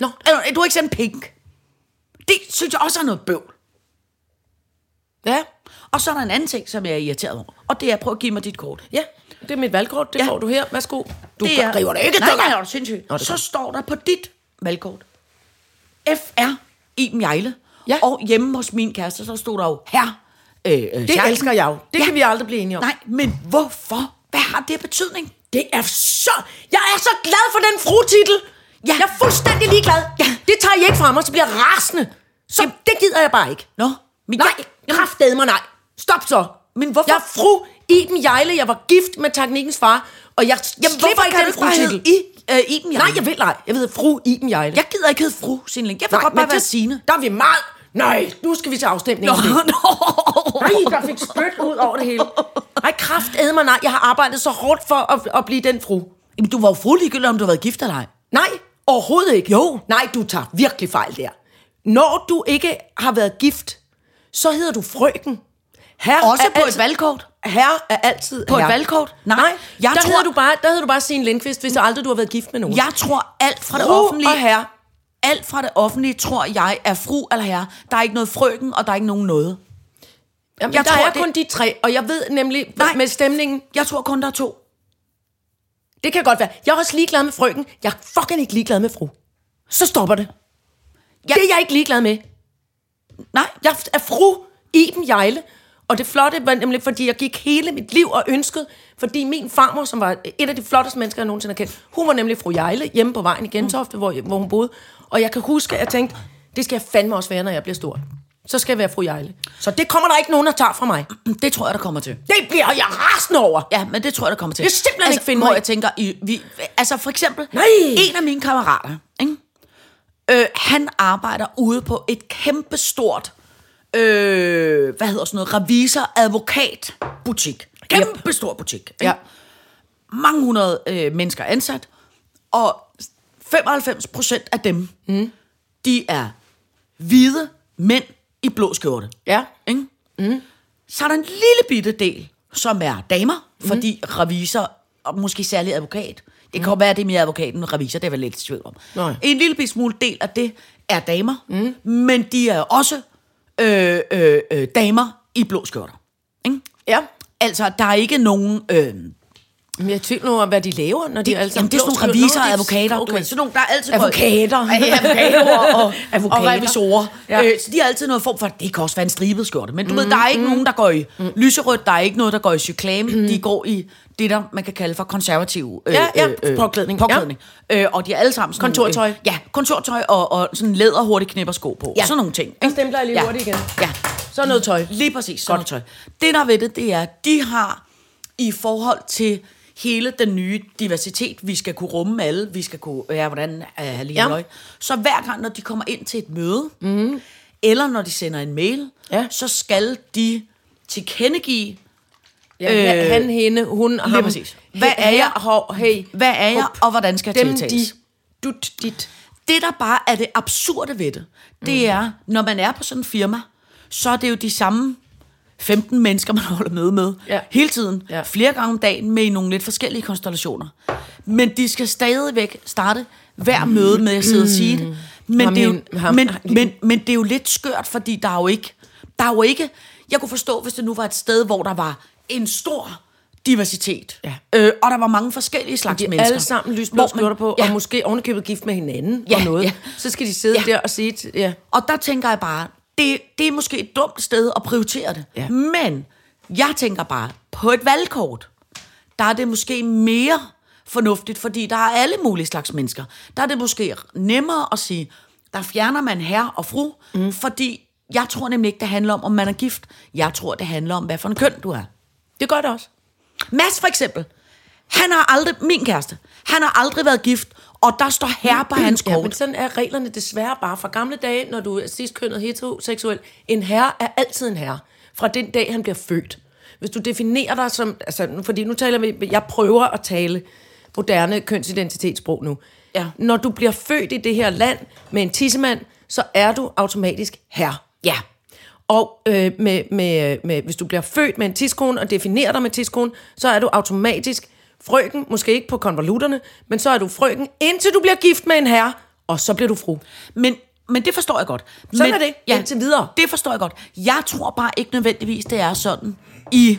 Speaker 3: Nå.
Speaker 4: Eller, du må ikke stemme pink. Det synes jeg også er noget bøvl.
Speaker 3: Ja,
Speaker 4: Og så er der en anden ting, som jeg er irriteret over. Og det er, prøv at give mig dit kort.
Speaker 3: ja. Det er mit valgkort, det
Speaker 4: Ja.
Speaker 3: får du her. Værsgo. Du
Speaker 4: det er,
Speaker 3: river det ikke,
Speaker 4: Nej,
Speaker 3: stykker.
Speaker 4: nej, nej, er du sindssyg.
Speaker 3: Nå,
Speaker 4: Nå,
Speaker 3: det er
Speaker 4: så
Speaker 3: godt.
Speaker 4: står der på dit valgkort. FR Iben Jejle.
Speaker 3: Ja.
Speaker 4: Og hjemme hos min kæreste, så stod der jo her. Øh, øh,
Speaker 3: Det elsker jeg jo. Det kan vi aldrig blive enige om.
Speaker 4: Nej, men hvorfor? Hvad har det af betydning?
Speaker 3: Det er så... Jeg er så glad for den frutitel. Ja. Jeg er fuldstændig ligeglad. Ja. Det tager I ikke fra mig, så bliver jeg rasende. Så Jamen. det gider jeg bare ikke.
Speaker 4: Nå, men
Speaker 3: Nej,
Speaker 4: jeg-
Speaker 3: kraftedeme mig nej. Stop så.
Speaker 4: Men hvorfor-
Speaker 3: Jeg er fru Iben Jejle. Jeg var gift med teknikkens far, og jeg Jamen, slipper
Speaker 4: hvorfor
Speaker 3: ikke den
Speaker 4: kan du ikke bare
Speaker 3: frutitel.
Speaker 4: hedde I- øh, Iben Jejle?
Speaker 3: Nej, jeg vil nej. Jeg ved fru Iben Jejle.
Speaker 4: Jeg gider ikke hedde fru Sindling. Jeg vil godt bare være Signe.
Speaker 3: Der er vi meget... Nej, nu skal vi til afstemning. om det. Nej, der fik spyt ud over det hele. Nej, kraftedeme mig nej. Jeg har arbejdet så hårdt for at, at blive den fru.
Speaker 4: Jamen, du var jo fru ligegyldigt, om du havde været gift eller ej.
Speaker 3: Nej, overhovedet ikke. Jo. Nej, du tager virkelig fejl der. Når du ikke har været gift, så hedder du frøken. Her
Speaker 4: Også på
Speaker 3: altså-
Speaker 4: et valgkort.
Speaker 3: Herre er altid
Speaker 4: På et
Speaker 3: herre.
Speaker 4: valgkort?
Speaker 3: Nej,
Speaker 4: Nej.
Speaker 3: Nej jeg
Speaker 4: Jeg
Speaker 3: der, tror...
Speaker 4: tror-
Speaker 3: hedder du bare, der hedder du bare Signe Lindqvist, hvis aldrig du har været gift med nogen.
Speaker 4: Jeg tror alt fra det
Speaker 3: Fru
Speaker 4: offentlige...
Speaker 3: og herre.
Speaker 4: Alt fra det offentlige, tror jeg, er fru eller herre. Der er ikke noget frøken, og der er ikke nogen noget.
Speaker 3: Jamen,
Speaker 4: jeg
Speaker 3: der
Speaker 4: tror,
Speaker 3: er
Speaker 4: det-
Speaker 3: kun de tre, og jeg ved nemlig Nej.
Speaker 4: Nej.
Speaker 3: med stemningen,
Speaker 4: Jeg tror kun, der er to.
Speaker 3: det kan godt være. Jeg er også ligeglad med frøken. Jeg er fucking ikke ligeglad med fru. Så stopper det. Ja.
Speaker 4: Ja.
Speaker 3: Det er jeg ikke ligeglad med.
Speaker 4: Nej,
Speaker 3: Jeg er fru Iben Jejle. Og det flotte var nemlig, fordi jeg gik hele mit liv og ønskede, fordi min farmor, som var et af de flotteste mennesker, jeg nogensinde har kendt, hun var nemlig fru Jejle hjemme på vejen i Gentofte, hvor, hvor hun boede. Og jeg kan huske, at jeg tænkte, det skal jeg fandme også være, når jeg bliver stor. Så skal jeg være fru Jejle. Så det kommer der ikke nogen, der tager fra mig.
Speaker 4: det tror jeg, der kommer til.
Speaker 3: Det bliver jeg rasende over.
Speaker 4: Ja, men det tror jeg, der kommer til.
Speaker 3: Jeg kan simpelthen
Speaker 4: altså,
Speaker 3: ikke finde
Speaker 4: hvor
Speaker 3: mig i.
Speaker 4: jeg tænker, I, vi, altså for eksempel,
Speaker 3: Nej!
Speaker 4: en af mine kammerater, ikke? Øh, han arbejder ude på et kæmpestort, øh, hvad hedder sådan noget, revisor-advokat-butik. Kæmpestor butik. Ikke?
Speaker 3: Ja.
Speaker 4: Mange hundrede øh, mennesker ansat, og 95 procent af dem, mm. de er hvide mænd i blå skjorte.
Speaker 3: Ja.
Speaker 4: Ikke? Mm. Så er der en lille bitte del, som er damer, mm. fordi revisor, og måske særlig advokat, det kan godt være, at det er mere advokat end revisor, det er jeg vel lidt i tvivl om.
Speaker 3: Nej.
Speaker 4: En lille bitte smule del af det er damer, mm. men de er også øh, øh, øh, damer i blå skjorter. Ikke?
Speaker 3: Ja.
Speaker 4: Altså, der er ikke nogen... Øh,
Speaker 3: Men jeg er i tvivl nu om, hvad de laver, når de er alle
Speaker 4: Jamen, det er sådan nogle revisorer og advokater. Okay. Du ved, sådan nogle, der er altid...
Speaker 3: Advokater.
Speaker 4: Ja, advokater og, og,
Speaker 3: Advokater.
Speaker 4: og revisorer.
Speaker 3: Ja.
Speaker 4: Ja. Øh, så de har altid noget form for... Det kan også være en stribet skjorte, men du mm, ved, der er
Speaker 3: Mm-hmm.
Speaker 4: ikke mm. nogen, der går i mm. lyserødt, der er ikke noget, der går i cyklame. Mm. De går i det, der man kan kalde for konservativ... Øh,
Speaker 3: Ja, ja, påklædning.
Speaker 4: påklædning. Ja. Øh, og de er alle sammen... Sådan,
Speaker 3: Kontortøj.
Speaker 4: Øh, ja, kontortøj og, og sådan læder hurtigt knipper sko på.
Speaker 3: Ja.
Speaker 4: Ja. Sådan nogle ting.
Speaker 3: Jeg
Speaker 4: ikke?
Speaker 3: stempler jeg lige
Speaker 4: ja.
Speaker 3: hurtigt igen.
Speaker 4: Ja.
Speaker 3: Så noget tøj.
Speaker 4: Lige præcis, sådan noget tøj. Det, der er ved det, det er, at de har i forhold til hele den nye diversitet, vi skal kunne rumme alle, vi skal kunne, ja, hvordan er lige
Speaker 3: Ja.
Speaker 4: ja. Så hver gang, når de kommer ind til et møde, mm. eller når de sender en mail,
Speaker 3: Ja.
Speaker 4: ja. så skal de tilkendegive,
Speaker 3: Ja, øh, han, hende, hun, ham.
Speaker 4: præcis. Hvad er jeg?
Speaker 3: Hov, hey.
Speaker 4: hvad er jeg,
Speaker 3: Hop.
Speaker 4: og hvordan skal jeg
Speaker 3: Dem,
Speaker 4: tiltales.
Speaker 3: de, dut, dit.
Speaker 4: Det, der bare er det absurde ved det,
Speaker 3: Mm.
Speaker 4: det er, når man er på sådan en firma, så er det jo de samme 15 mennesker, man holder møde med.
Speaker 3: Ja.
Speaker 4: Hele tiden.
Speaker 3: Ja.
Speaker 4: Flere gange om dagen med i nogle lidt forskellige konstellationer. Men de skal stadigvæk starte
Speaker 3: Mm.
Speaker 4: hver møde med at sidde og sige det. Men,
Speaker 3: Ham
Speaker 4: det er jo,
Speaker 3: hende- ham-
Speaker 4: men, men, men det er jo lidt skørt, fordi der er jo ikke... Der er jo ikke... Jeg kunne forstå, hvis det nu var et sted, hvor der var en stor diversitet.
Speaker 3: Ja.
Speaker 4: Øh, og der var mange forskellige slags
Speaker 3: De er
Speaker 4: mennesker.
Speaker 3: alle sammen
Speaker 4: Hvor
Speaker 3: lysblå
Speaker 4: man-
Speaker 3: skjorter på, ja.
Speaker 4: ja.
Speaker 3: og måske ovenikøbet gift med hinanden
Speaker 4: Ja,
Speaker 3: og noget.
Speaker 4: ja.
Speaker 3: Så skal de sidde
Speaker 4: Ja.
Speaker 3: ja. der og sige, til- ja,
Speaker 4: Og der tænker jeg bare, det, det er måske et dumt sted at prioritere det.
Speaker 3: Ja.
Speaker 4: Men jeg tænker bare, på et valgkort, der er det måske mere fornuftigt, fordi der er alle mulige slags mennesker. Der er det måske nemmere at sige, der fjerner man herre og fru, mm. fordi jeg tror nemlig ikke, det handler om, om man er gift. Jeg tror, det handler om, hvad for en køn du er.
Speaker 3: det gør det også.
Speaker 4: Mads for eksempel, han har aldrig, min kæreste, han har aldrig været gift, og der står herre på hans
Speaker 3: Ja,
Speaker 4: kort.
Speaker 3: men sådan er reglerne desværre bare. Fra gamle dage, når du er sidstkønnet heteroseksuel, en herre er altid en herre. Fra den dag, han bliver født. Hvis du definerer dig som... Altså, nu- fordi nu taler vi... Jeg prøver at tale moderne kønsidentitetssprog nu.
Speaker 4: Ja.
Speaker 3: Når du bliver født i det her land med en tissemand, så er du automatisk herre.
Speaker 4: Ja.
Speaker 3: Og øh, med, med, med, hvis du bliver født med en tidskone og definerer dig med tidskone, så er du automatisk frøken, måske ikke på konvolutterne, men så er du frøken, indtil du bliver gift med en herre, og så bliver du fru.
Speaker 4: Men, men det forstår jeg godt.
Speaker 3: Sådan
Speaker 4: men,
Speaker 3: er det indtil videre.
Speaker 4: Det forstår jeg godt. Jeg tror bare ikke nødvendigvis, det er sådan i...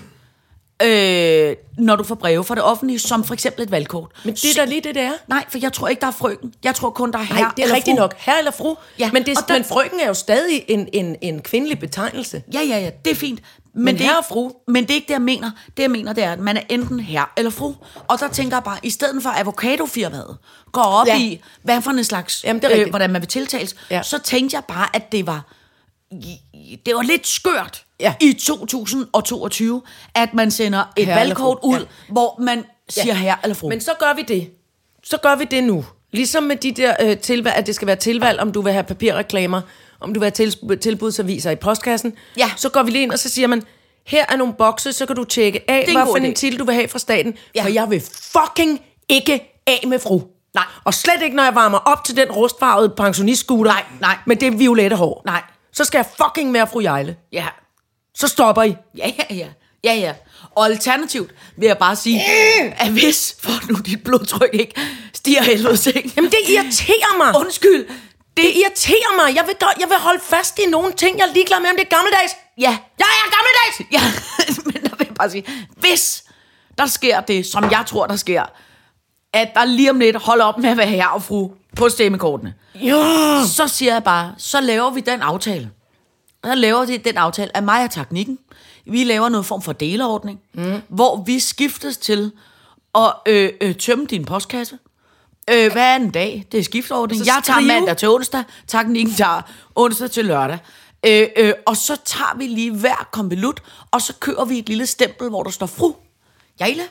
Speaker 4: Øh, når du får breve fra det offentlige, som for eksempel et valgkort.
Speaker 3: Men det er da lige det, det er.
Speaker 4: Nej, for jeg tror ikke, der er frøken. Jeg tror kun, der er herre
Speaker 3: Nej, det er
Speaker 4: eller
Speaker 3: rigtigt
Speaker 4: fru.
Speaker 3: nok. Herre eller fru.
Speaker 4: Ja,
Speaker 3: Men, det,
Speaker 4: og der-
Speaker 3: men frøken er jo stadig en, en, en kvindelig betegnelse.
Speaker 4: Ja, ja, ja, det er fint. Men, det er
Speaker 3: herre
Speaker 4: ikke-
Speaker 3: og fru.
Speaker 4: Men det er ikke det, jeg mener. Det, jeg mener, det er, at man er enten herre eller fru. Og der tænker jeg bare, i stedet for at avocadofirmaet går op ja.
Speaker 3: Ja.
Speaker 4: i, hvad for en slags, øh,
Speaker 3: Jamen, det er rigtigt.
Speaker 4: hvordan man vil tiltales, ja.
Speaker 3: Ja.
Speaker 4: så tænkte jeg bare, at det var det var lidt skørt ja.
Speaker 3: Ja.
Speaker 4: i 2022, at man sender et
Speaker 3: Herre eller
Speaker 4: valgkort
Speaker 3: fru,
Speaker 4: ud,
Speaker 3: ja.
Speaker 4: ja. hvor man siger ja. herre eller fru.
Speaker 3: Men så gør vi det. Så gør vi det nu. Ligesom med de der øh, tilvalg, at det skal være tilvalg, om du vil have papirreklamer, om du vil have tils- tilbudsaviser i postkassen.
Speaker 4: Ja.
Speaker 3: Så går vi lige ind, og så siger man, her er nogle bokse, så kan du tjekke af,
Speaker 4: en
Speaker 3: hvad
Speaker 4: god
Speaker 3: for en
Speaker 4: idé.
Speaker 3: titel du vil have fra staten.
Speaker 4: Ja.
Speaker 3: Ja. For jeg vil fucking ikke af med fru.
Speaker 4: Nej.
Speaker 3: Og slet ikke, når jeg varmer op til den rustfarvede pensionistskuter.
Speaker 4: Nej, nej.
Speaker 3: Med det violette hår.
Speaker 4: Nej.
Speaker 3: Så skal jeg fucking være fru Jejle.
Speaker 4: ja.
Speaker 3: Så stopper I.
Speaker 4: Ja, ja, ja. Ja, ja. Og alternativt vil jeg bare sige,
Speaker 3: Øh!
Speaker 4: at hvis, for nu dit blodtryk ikke stiger af helvede ting.
Speaker 3: Jamen, det irriterer mig.
Speaker 4: Undskyld.
Speaker 3: Det irriterer mig. Jeg vil, gøre, jeg vil holde fast i nogle ting, jeg er ligeglad med, om det er gammeldags.
Speaker 4: Ja,
Speaker 3: Jeg er gammeldags!
Speaker 4: ja. Men der vil jeg bare sige, hvis der sker det, som jeg tror, der sker, at der lige om lidt holder op med at være herre og fru på stemmekortene,
Speaker 3: Ja.
Speaker 4: så siger jeg bare, så laver vi den aftale. Så laver vi den aftale af mig og teknikken. Vi laver noget form for deleordning, mm. hvor vi skiftes til at øh, øh, tømme din postkasse. Øh, hvad er en dag? Det er skifteordning.
Speaker 3: Og så
Speaker 4: Jeg tager
Speaker 3: skrive.
Speaker 4: mandag til onsdag, teknikken tager onsdag til lørdag. Øh, øh, og så tager vi lige hver konvolut, og så kører vi et lille stempel, hvor der står fru. Jejle.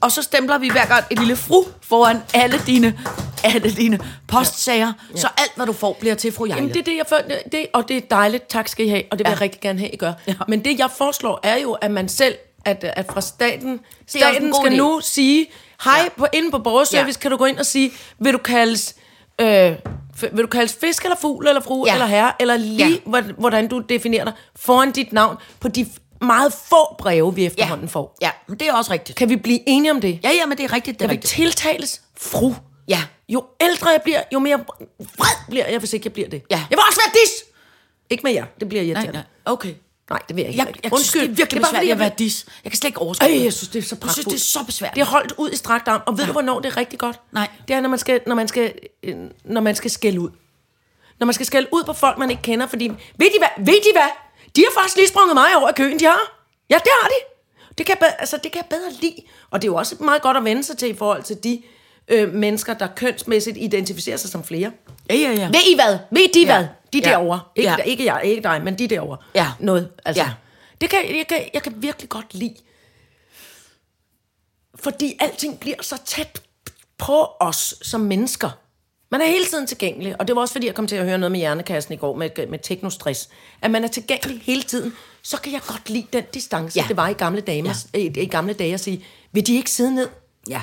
Speaker 4: Og så stempler vi hver gang et lille fru foran alle dine, alle dine postsager, ja. Ja. så alt, hvad du får, bliver til fru Jejle.
Speaker 3: Jamen, det er det, jeg for, det, og det er dejligt. Tak skal I have, og det vil
Speaker 4: Ja.
Speaker 3: ja. jeg rigtig gerne have, I gør.
Speaker 4: Ja.
Speaker 3: Ja. Men det, jeg foreslår, er jo, at man selv, at, at fra staten,
Speaker 4: også en
Speaker 3: staten
Speaker 4: god
Speaker 3: skal
Speaker 4: idé.
Speaker 3: nu sige, hej,
Speaker 4: Ja.
Speaker 3: ja. på, inde på borgerservice
Speaker 4: Ja.
Speaker 3: ja. kan du gå ind og sige, vil du kaldes... Øh, f- vil du kaldes fisk eller fugl eller fru
Speaker 4: Ja.
Speaker 3: ja. eller herre, eller lige
Speaker 4: Ja.
Speaker 3: ja. hvordan, hvordan du definerer dig foran dit navn på de f- meget få breve, vi efterhånden ja. får.
Speaker 4: Ja, men det er også rigtigt.
Speaker 3: Kan vi blive enige om det?
Speaker 4: Ja, ja, men det er rigtigt, det er
Speaker 3: Jeg vil
Speaker 4: rigtigt.
Speaker 3: tiltales fru.
Speaker 4: Ja.
Speaker 3: Jo ældre jeg bliver, jo mere vred bliver jeg, hvis ikke jeg bliver det.
Speaker 4: Ja.
Speaker 3: Jeg vil også være dis! Ikke med jer, det bliver irriterende.
Speaker 4: Nej, nej. Okay.
Speaker 3: nej det vil jeg ikke.
Speaker 4: Jeg, jeg Undskyld, synes, det er virkelig det er
Speaker 3: fordi,
Speaker 4: svært at
Speaker 3: jeg
Speaker 4: være dis. Jeg kan slet ikke overskue
Speaker 3: Ej, jeg synes, det er så
Speaker 4: Jeg synes,
Speaker 3: pragtfuldt.
Speaker 4: det er så besværligt.
Speaker 3: Det er holdt ud i strakt arm, og ved du, hvornår det er rigtig godt?
Speaker 4: Nej.
Speaker 3: Det er, når man skal, når man skal, øh, når man skal skælde ud. Når man skal skælde ud på folk, man ikke kender, fordi... Ved de hvad? Ved de hvad? De har faktisk lige sprunget mig over i køen, de har. Ja, det har de. Det kan, jeg be- altså, det kan jeg bedre lide. Og det er jo også meget godt at vende sig til i forhold til de øh, mennesker, der kønsmæssigt identificerer sig som flere.
Speaker 4: Ja, ja, ja.
Speaker 3: Ved I hvad? Ved de hvad? De
Speaker 4: Ja.
Speaker 3: derovre. Ikke,
Speaker 4: Ja.
Speaker 3: ja. ikke jeg, ikke dig, men de derovre.
Speaker 4: Ja.
Speaker 3: Noget, altså.
Speaker 4: Ja.
Speaker 3: Ja. Det kan, jeg, kan, jeg kan virkelig godt lide. Fordi alting bliver så tæt på os som mennesker. Man er hele tiden tilgængelig, og det var også fordi, jeg kom til at høre noget med hjernekassen i går med, med teknostress. At man er tilgængelig hele tiden, så kan jeg godt lide den distance,
Speaker 4: Ja.
Speaker 3: ja. det var i gamle, damer, ja. i, i gamle dage at sige, vil de ikke sidde ned?
Speaker 4: ja.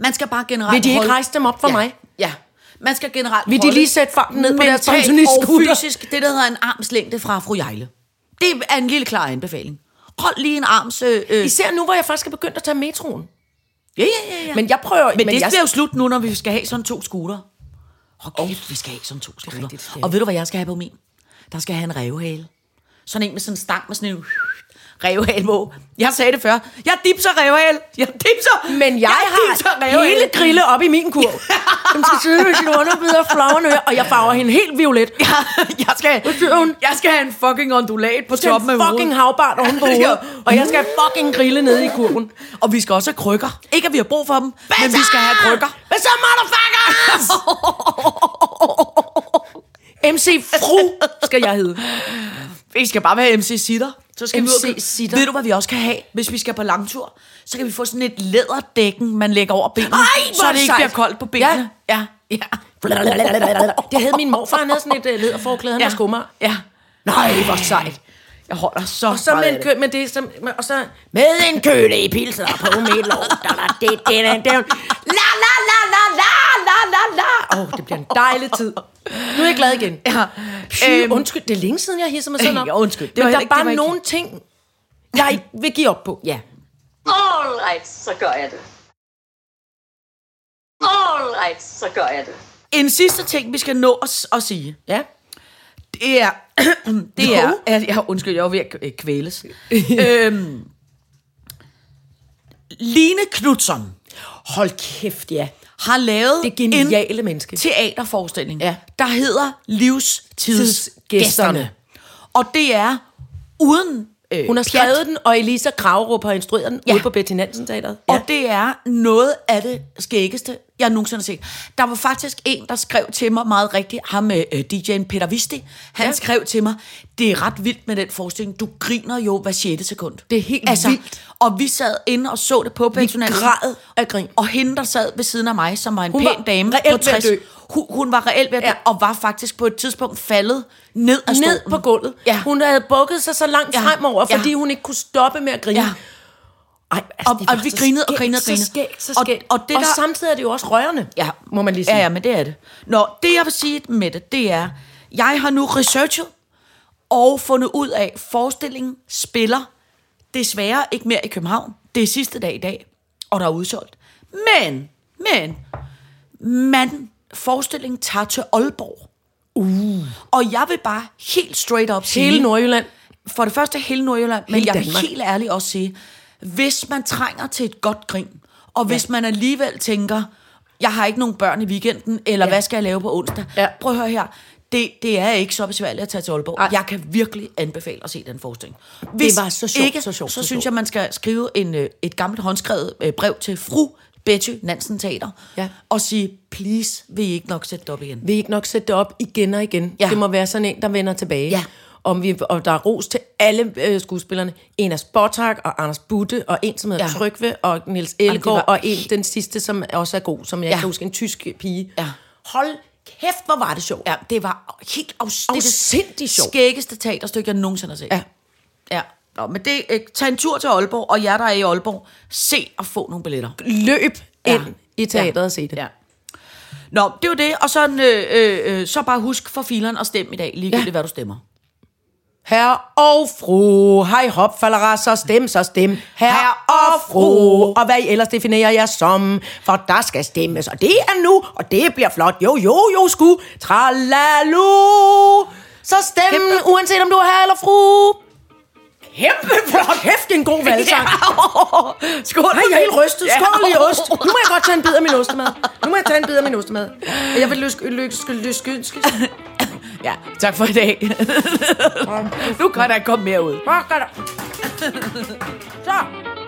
Speaker 4: Man skal bare generelt
Speaker 3: Vil de ikke
Speaker 4: holde-
Speaker 3: rejse dem op for
Speaker 4: ja.
Speaker 3: mig?
Speaker 4: Ja. Man skal generelt
Speaker 3: Vil de
Speaker 4: holde
Speaker 3: lige sætte farten ned på deres
Speaker 4: mentalt
Speaker 3: pensionistgutter?
Speaker 4: og fysisk det, der hedder en armslængde fra fru Jejle. Det er en lille klar anbefaling. Hold lige en arms... Øh, øh.
Speaker 3: Især nu, hvor jeg faktisk er begyndt at tage metroen.
Speaker 4: Ja, ja, ja, ja.
Speaker 3: Men jeg prøver...
Speaker 4: Men, men det
Speaker 3: jeg,
Speaker 4: bliver jo slut nu, når vi skal have sådan to skuter. Hold kæft, vi skal have sådan to skuter.
Speaker 3: rigtigt, det skal
Speaker 4: og ved du, hvad jeg skal have på min? Der skal jeg have en revhale. Sådan en med sådan en stang med sådan en revhale på. Jeg sagde det før. Jeg dipser revhale. Jeg dipser.
Speaker 3: Men jeg, jeg har
Speaker 4: rævehale.
Speaker 3: hele grille op i min kurv. Hun skal sidde med sin underbid og flagrende ører, og jeg farver hende helt violet. Jeg
Speaker 4: jeg skal,
Speaker 3: siger hun?
Speaker 4: jeg skal have en fucking ondulat på
Speaker 3: skal
Speaker 4: toppen af
Speaker 3: have fucking
Speaker 4: hovedet.
Speaker 3: havbart oven på
Speaker 4: Ja.
Speaker 3: hovedet, og jeg skal have fucking grille nede i kurven.
Speaker 4: Og vi skal også have krykker. Ikke at vi har brug for dem, men vi skal have krykker.
Speaker 3: Hvad så, motherfuckers? MC Fru skal jeg hedde.
Speaker 4: Vi skal bare være MC Sitter. Så skal vi ud og
Speaker 3: MC
Speaker 4: købe-
Speaker 3: sitter.
Speaker 4: Ved du, hvad vi også kan have, hvis vi skal på langtur? Så kan vi få sådan et læderdækken, man lægger over benene.
Speaker 3: Ej,
Speaker 4: så
Speaker 3: hvor er
Speaker 4: det
Speaker 3: det
Speaker 4: ikke
Speaker 3: sejt.
Speaker 4: bliver koldt på benene. Ja. ja. ja.
Speaker 3: Det havde min morfar, han havde sådan et øh, læderforklæde, han ja. skummer.
Speaker 4: Ja. Nej, hvor sejt. Jeg holder så
Speaker 3: Og så med en kø, med det, som, med, og så med en køle i pilsen og på med lov. Da, da, det, det, da, da. La, la, la, la, la, la, la, la. Åh, oh, det bliver en dejlig tid. Nu er jeg glad igen.
Speaker 4: Ja.
Speaker 3: Py, øhm, undskyld, det er længe siden, jeg hisser mig sådan op.
Speaker 4: Ja, undskyld. Det
Speaker 3: Det
Speaker 4: var
Speaker 3: Men der
Speaker 4: heller
Speaker 3: er
Speaker 4: ikke- det
Speaker 3: bare
Speaker 4: var ikke-
Speaker 3: nogle ting, jeg ikke vil give op på. Ja.
Speaker 2: All right, så gør jeg det. All right, så gør jeg det.
Speaker 4: En sidste ting, vi skal nå at, at sige.
Speaker 3: Ja.
Speaker 4: Det er... det er... Jeg, jeg, undskyld, jeg var ved at øh, kvæles. øhm, Line Knudsen
Speaker 3: Hold kæft, ja.
Speaker 4: har lavet
Speaker 3: Det geniale menneske.
Speaker 4: en teaterforestilling,
Speaker 3: Ja.
Speaker 4: der hedder Livstidsgæsterne.
Speaker 3: Tidsgæsterne.
Speaker 4: Og det er uden øh,
Speaker 3: Hun har
Speaker 4: pjat.
Speaker 3: skrevet den, og Elisa Kravrup har instrueret den ja. ude på Betty Nansen Teateret.
Speaker 4: Og det er noget af det skæggeste, jeg nogensinde har set. Der var faktisk en, der skrev til mig meget rigtigt, ham med øh, DJ'en Peter Visti. Han ja.
Speaker 3: Ja.
Speaker 4: skrev til mig, det er ret vildt med den forestilling. Du griner jo hver 6. sekund. Altså,
Speaker 3: Det er helt vildt.
Speaker 4: Og vi sad inde og så det på pensionatet.
Speaker 3: græd af grin.
Speaker 4: Og hende, der sad ved siden af mig, som var en
Speaker 3: Hun
Speaker 4: pæn
Speaker 3: var
Speaker 4: dame
Speaker 3: reelt
Speaker 4: på
Speaker 3: ved at
Speaker 4: 60.
Speaker 3: dø.
Speaker 4: Hun, hun var reelt ved at dø, ja.
Speaker 3: Ja.
Speaker 4: og var faktisk på et tidspunkt faldet ned af
Speaker 3: ned
Speaker 4: stolen.
Speaker 3: på gulvet.
Speaker 4: Ja.
Speaker 3: Hun havde bukket sig så langt
Speaker 4: Ja.
Speaker 3: ja. fremover, fordi
Speaker 4: Ja.
Speaker 3: hun ikke kunne stoppe med at grine.
Speaker 4: Ja.
Speaker 3: Ja. Ej, altså,
Speaker 4: Og-
Speaker 3: det var
Speaker 4: og vi
Speaker 3: så
Speaker 4: grinede og
Speaker 3: skægt,
Speaker 4: grinede og grinede.
Speaker 3: Så skægt, så
Speaker 4: Og-
Speaker 3: skægt.
Speaker 4: og det
Speaker 3: og
Speaker 4: der-
Speaker 3: samtidig er det jo også rørende,
Speaker 4: Ja.
Speaker 3: må man lige sige.
Speaker 4: Ja, ja, men det er det. Nå, det jeg vil sige med det, det er, jeg har nu researchet og fundet ud af, at forestillingen spiller desværre ikke mere i København. Det er sidste dag i dag, og der er udsolgt. Men, men, man, forestillingen tager til Aalborg. Uh. Og jeg vil bare helt straight up sige...
Speaker 3: Hele Nordjylland.
Speaker 4: For det første hele Nordjylland, men
Speaker 3: Hele
Speaker 4: jeg vil
Speaker 3: Danmark.
Speaker 4: helt ærligt også sige, hvis man trænger til et godt grin, og hvis man alligevel tænker, jeg har ikke nogen børn i weekenden, eller ja.
Speaker 3: Ja.
Speaker 4: hvad skal jeg lave på onsdag?
Speaker 3: Ja.
Speaker 4: Prøv at høre her. Det, det er ikke så besværligt at tage til Aalborg. Ej. Jeg kan virkelig anbefale at se den forestilling. Hvis
Speaker 3: var så sjovt,
Speaker 4: ikke,
Speaker 3: så sjovt,
Speaker 4: så,
Speaker 3: så
Speaker 4: synes
Speaker 3: sjovt.
Speaker 4: jeg, man skal skrive en, øh, et gammelt håndskrevet øh, brev til fru Betty Nansen Teater,
Speaker 3: Ja.
Speaker 4: og sige, please, vil I ikke nok sætte det op igen?
Speaker 3: Vil I ikke nok sætte det op igen og igen?
Speaker 4: Ja.
Speaker 3: Det må være sådan en, der vender tilbage.
Speaker 4: Ja.
Speaker 3: Om vi, og der er ros til alle øh, skuespillerne. En af Spottak og Anders Butte, og en, som hedder
Speaker 4: Ja.
Speaker 3: ja. Trygve, og Niels Elgaard,
Speaker 4: var
Speaker 3: og en, den sidste, som også er god, som jeg
Speaker 4: Ja.
Speaker 3: ja. kan huske, en tysk pige.
Speaker 4: Ja.
Speaker 3: Hold kæft, hvor var det sjovt.
Speaker 4: Ja, det var helt afs- det er det
Speaker 3: Afsindig sjovt.
Speaker 4: skæggeste teaterstykke, jeg nogensinde har set.
Speaker 3: Ja.
Speaker 4: ja. Nå, men det, øh, tag en tur til Aalborg, og jer, der er i Aalborg, se og få nogle billetter.
Speaker 3: Løb
Speaker 4: Ja.
Speaker 3: ind i teateret
Speaker 4: Ja.
Speaker 3: og se det.
Speaker 4: Ja. Nå, det var det, og sådan, øh, øh, øh, så bare husk for fileren og stem i dag, ligegyldigt ja.
Speaker 3: Ja.
Speaker 4: hvad du stemmer.
Speaker 3: Herre og fru, hej hop, falder så stem, så stem. Herre og fru, og hvad I ellers definerer jer som, for der skal stemmes, og det er nu, og det bliver flot. Jo, jo, jo, sku, tralalu. Så stem, uanset om du er herre eller fru. Kæmpe flot, kæft, det er en god valgsang.
Speaker 4: Skål!
Speaker 3: Nej, jeg er helt rystet. Skål i ost. Nu må jeg godt tage en bid af min ostemad. Nu må jeg tage en bid af min ostemad. Jeg vil lyske, lyske, lyske, lyske.
Speaker 4: Ja, tak for i dag. nu kan der ikke komme mere ud.
Speaker 3: Fuck, er der- Så.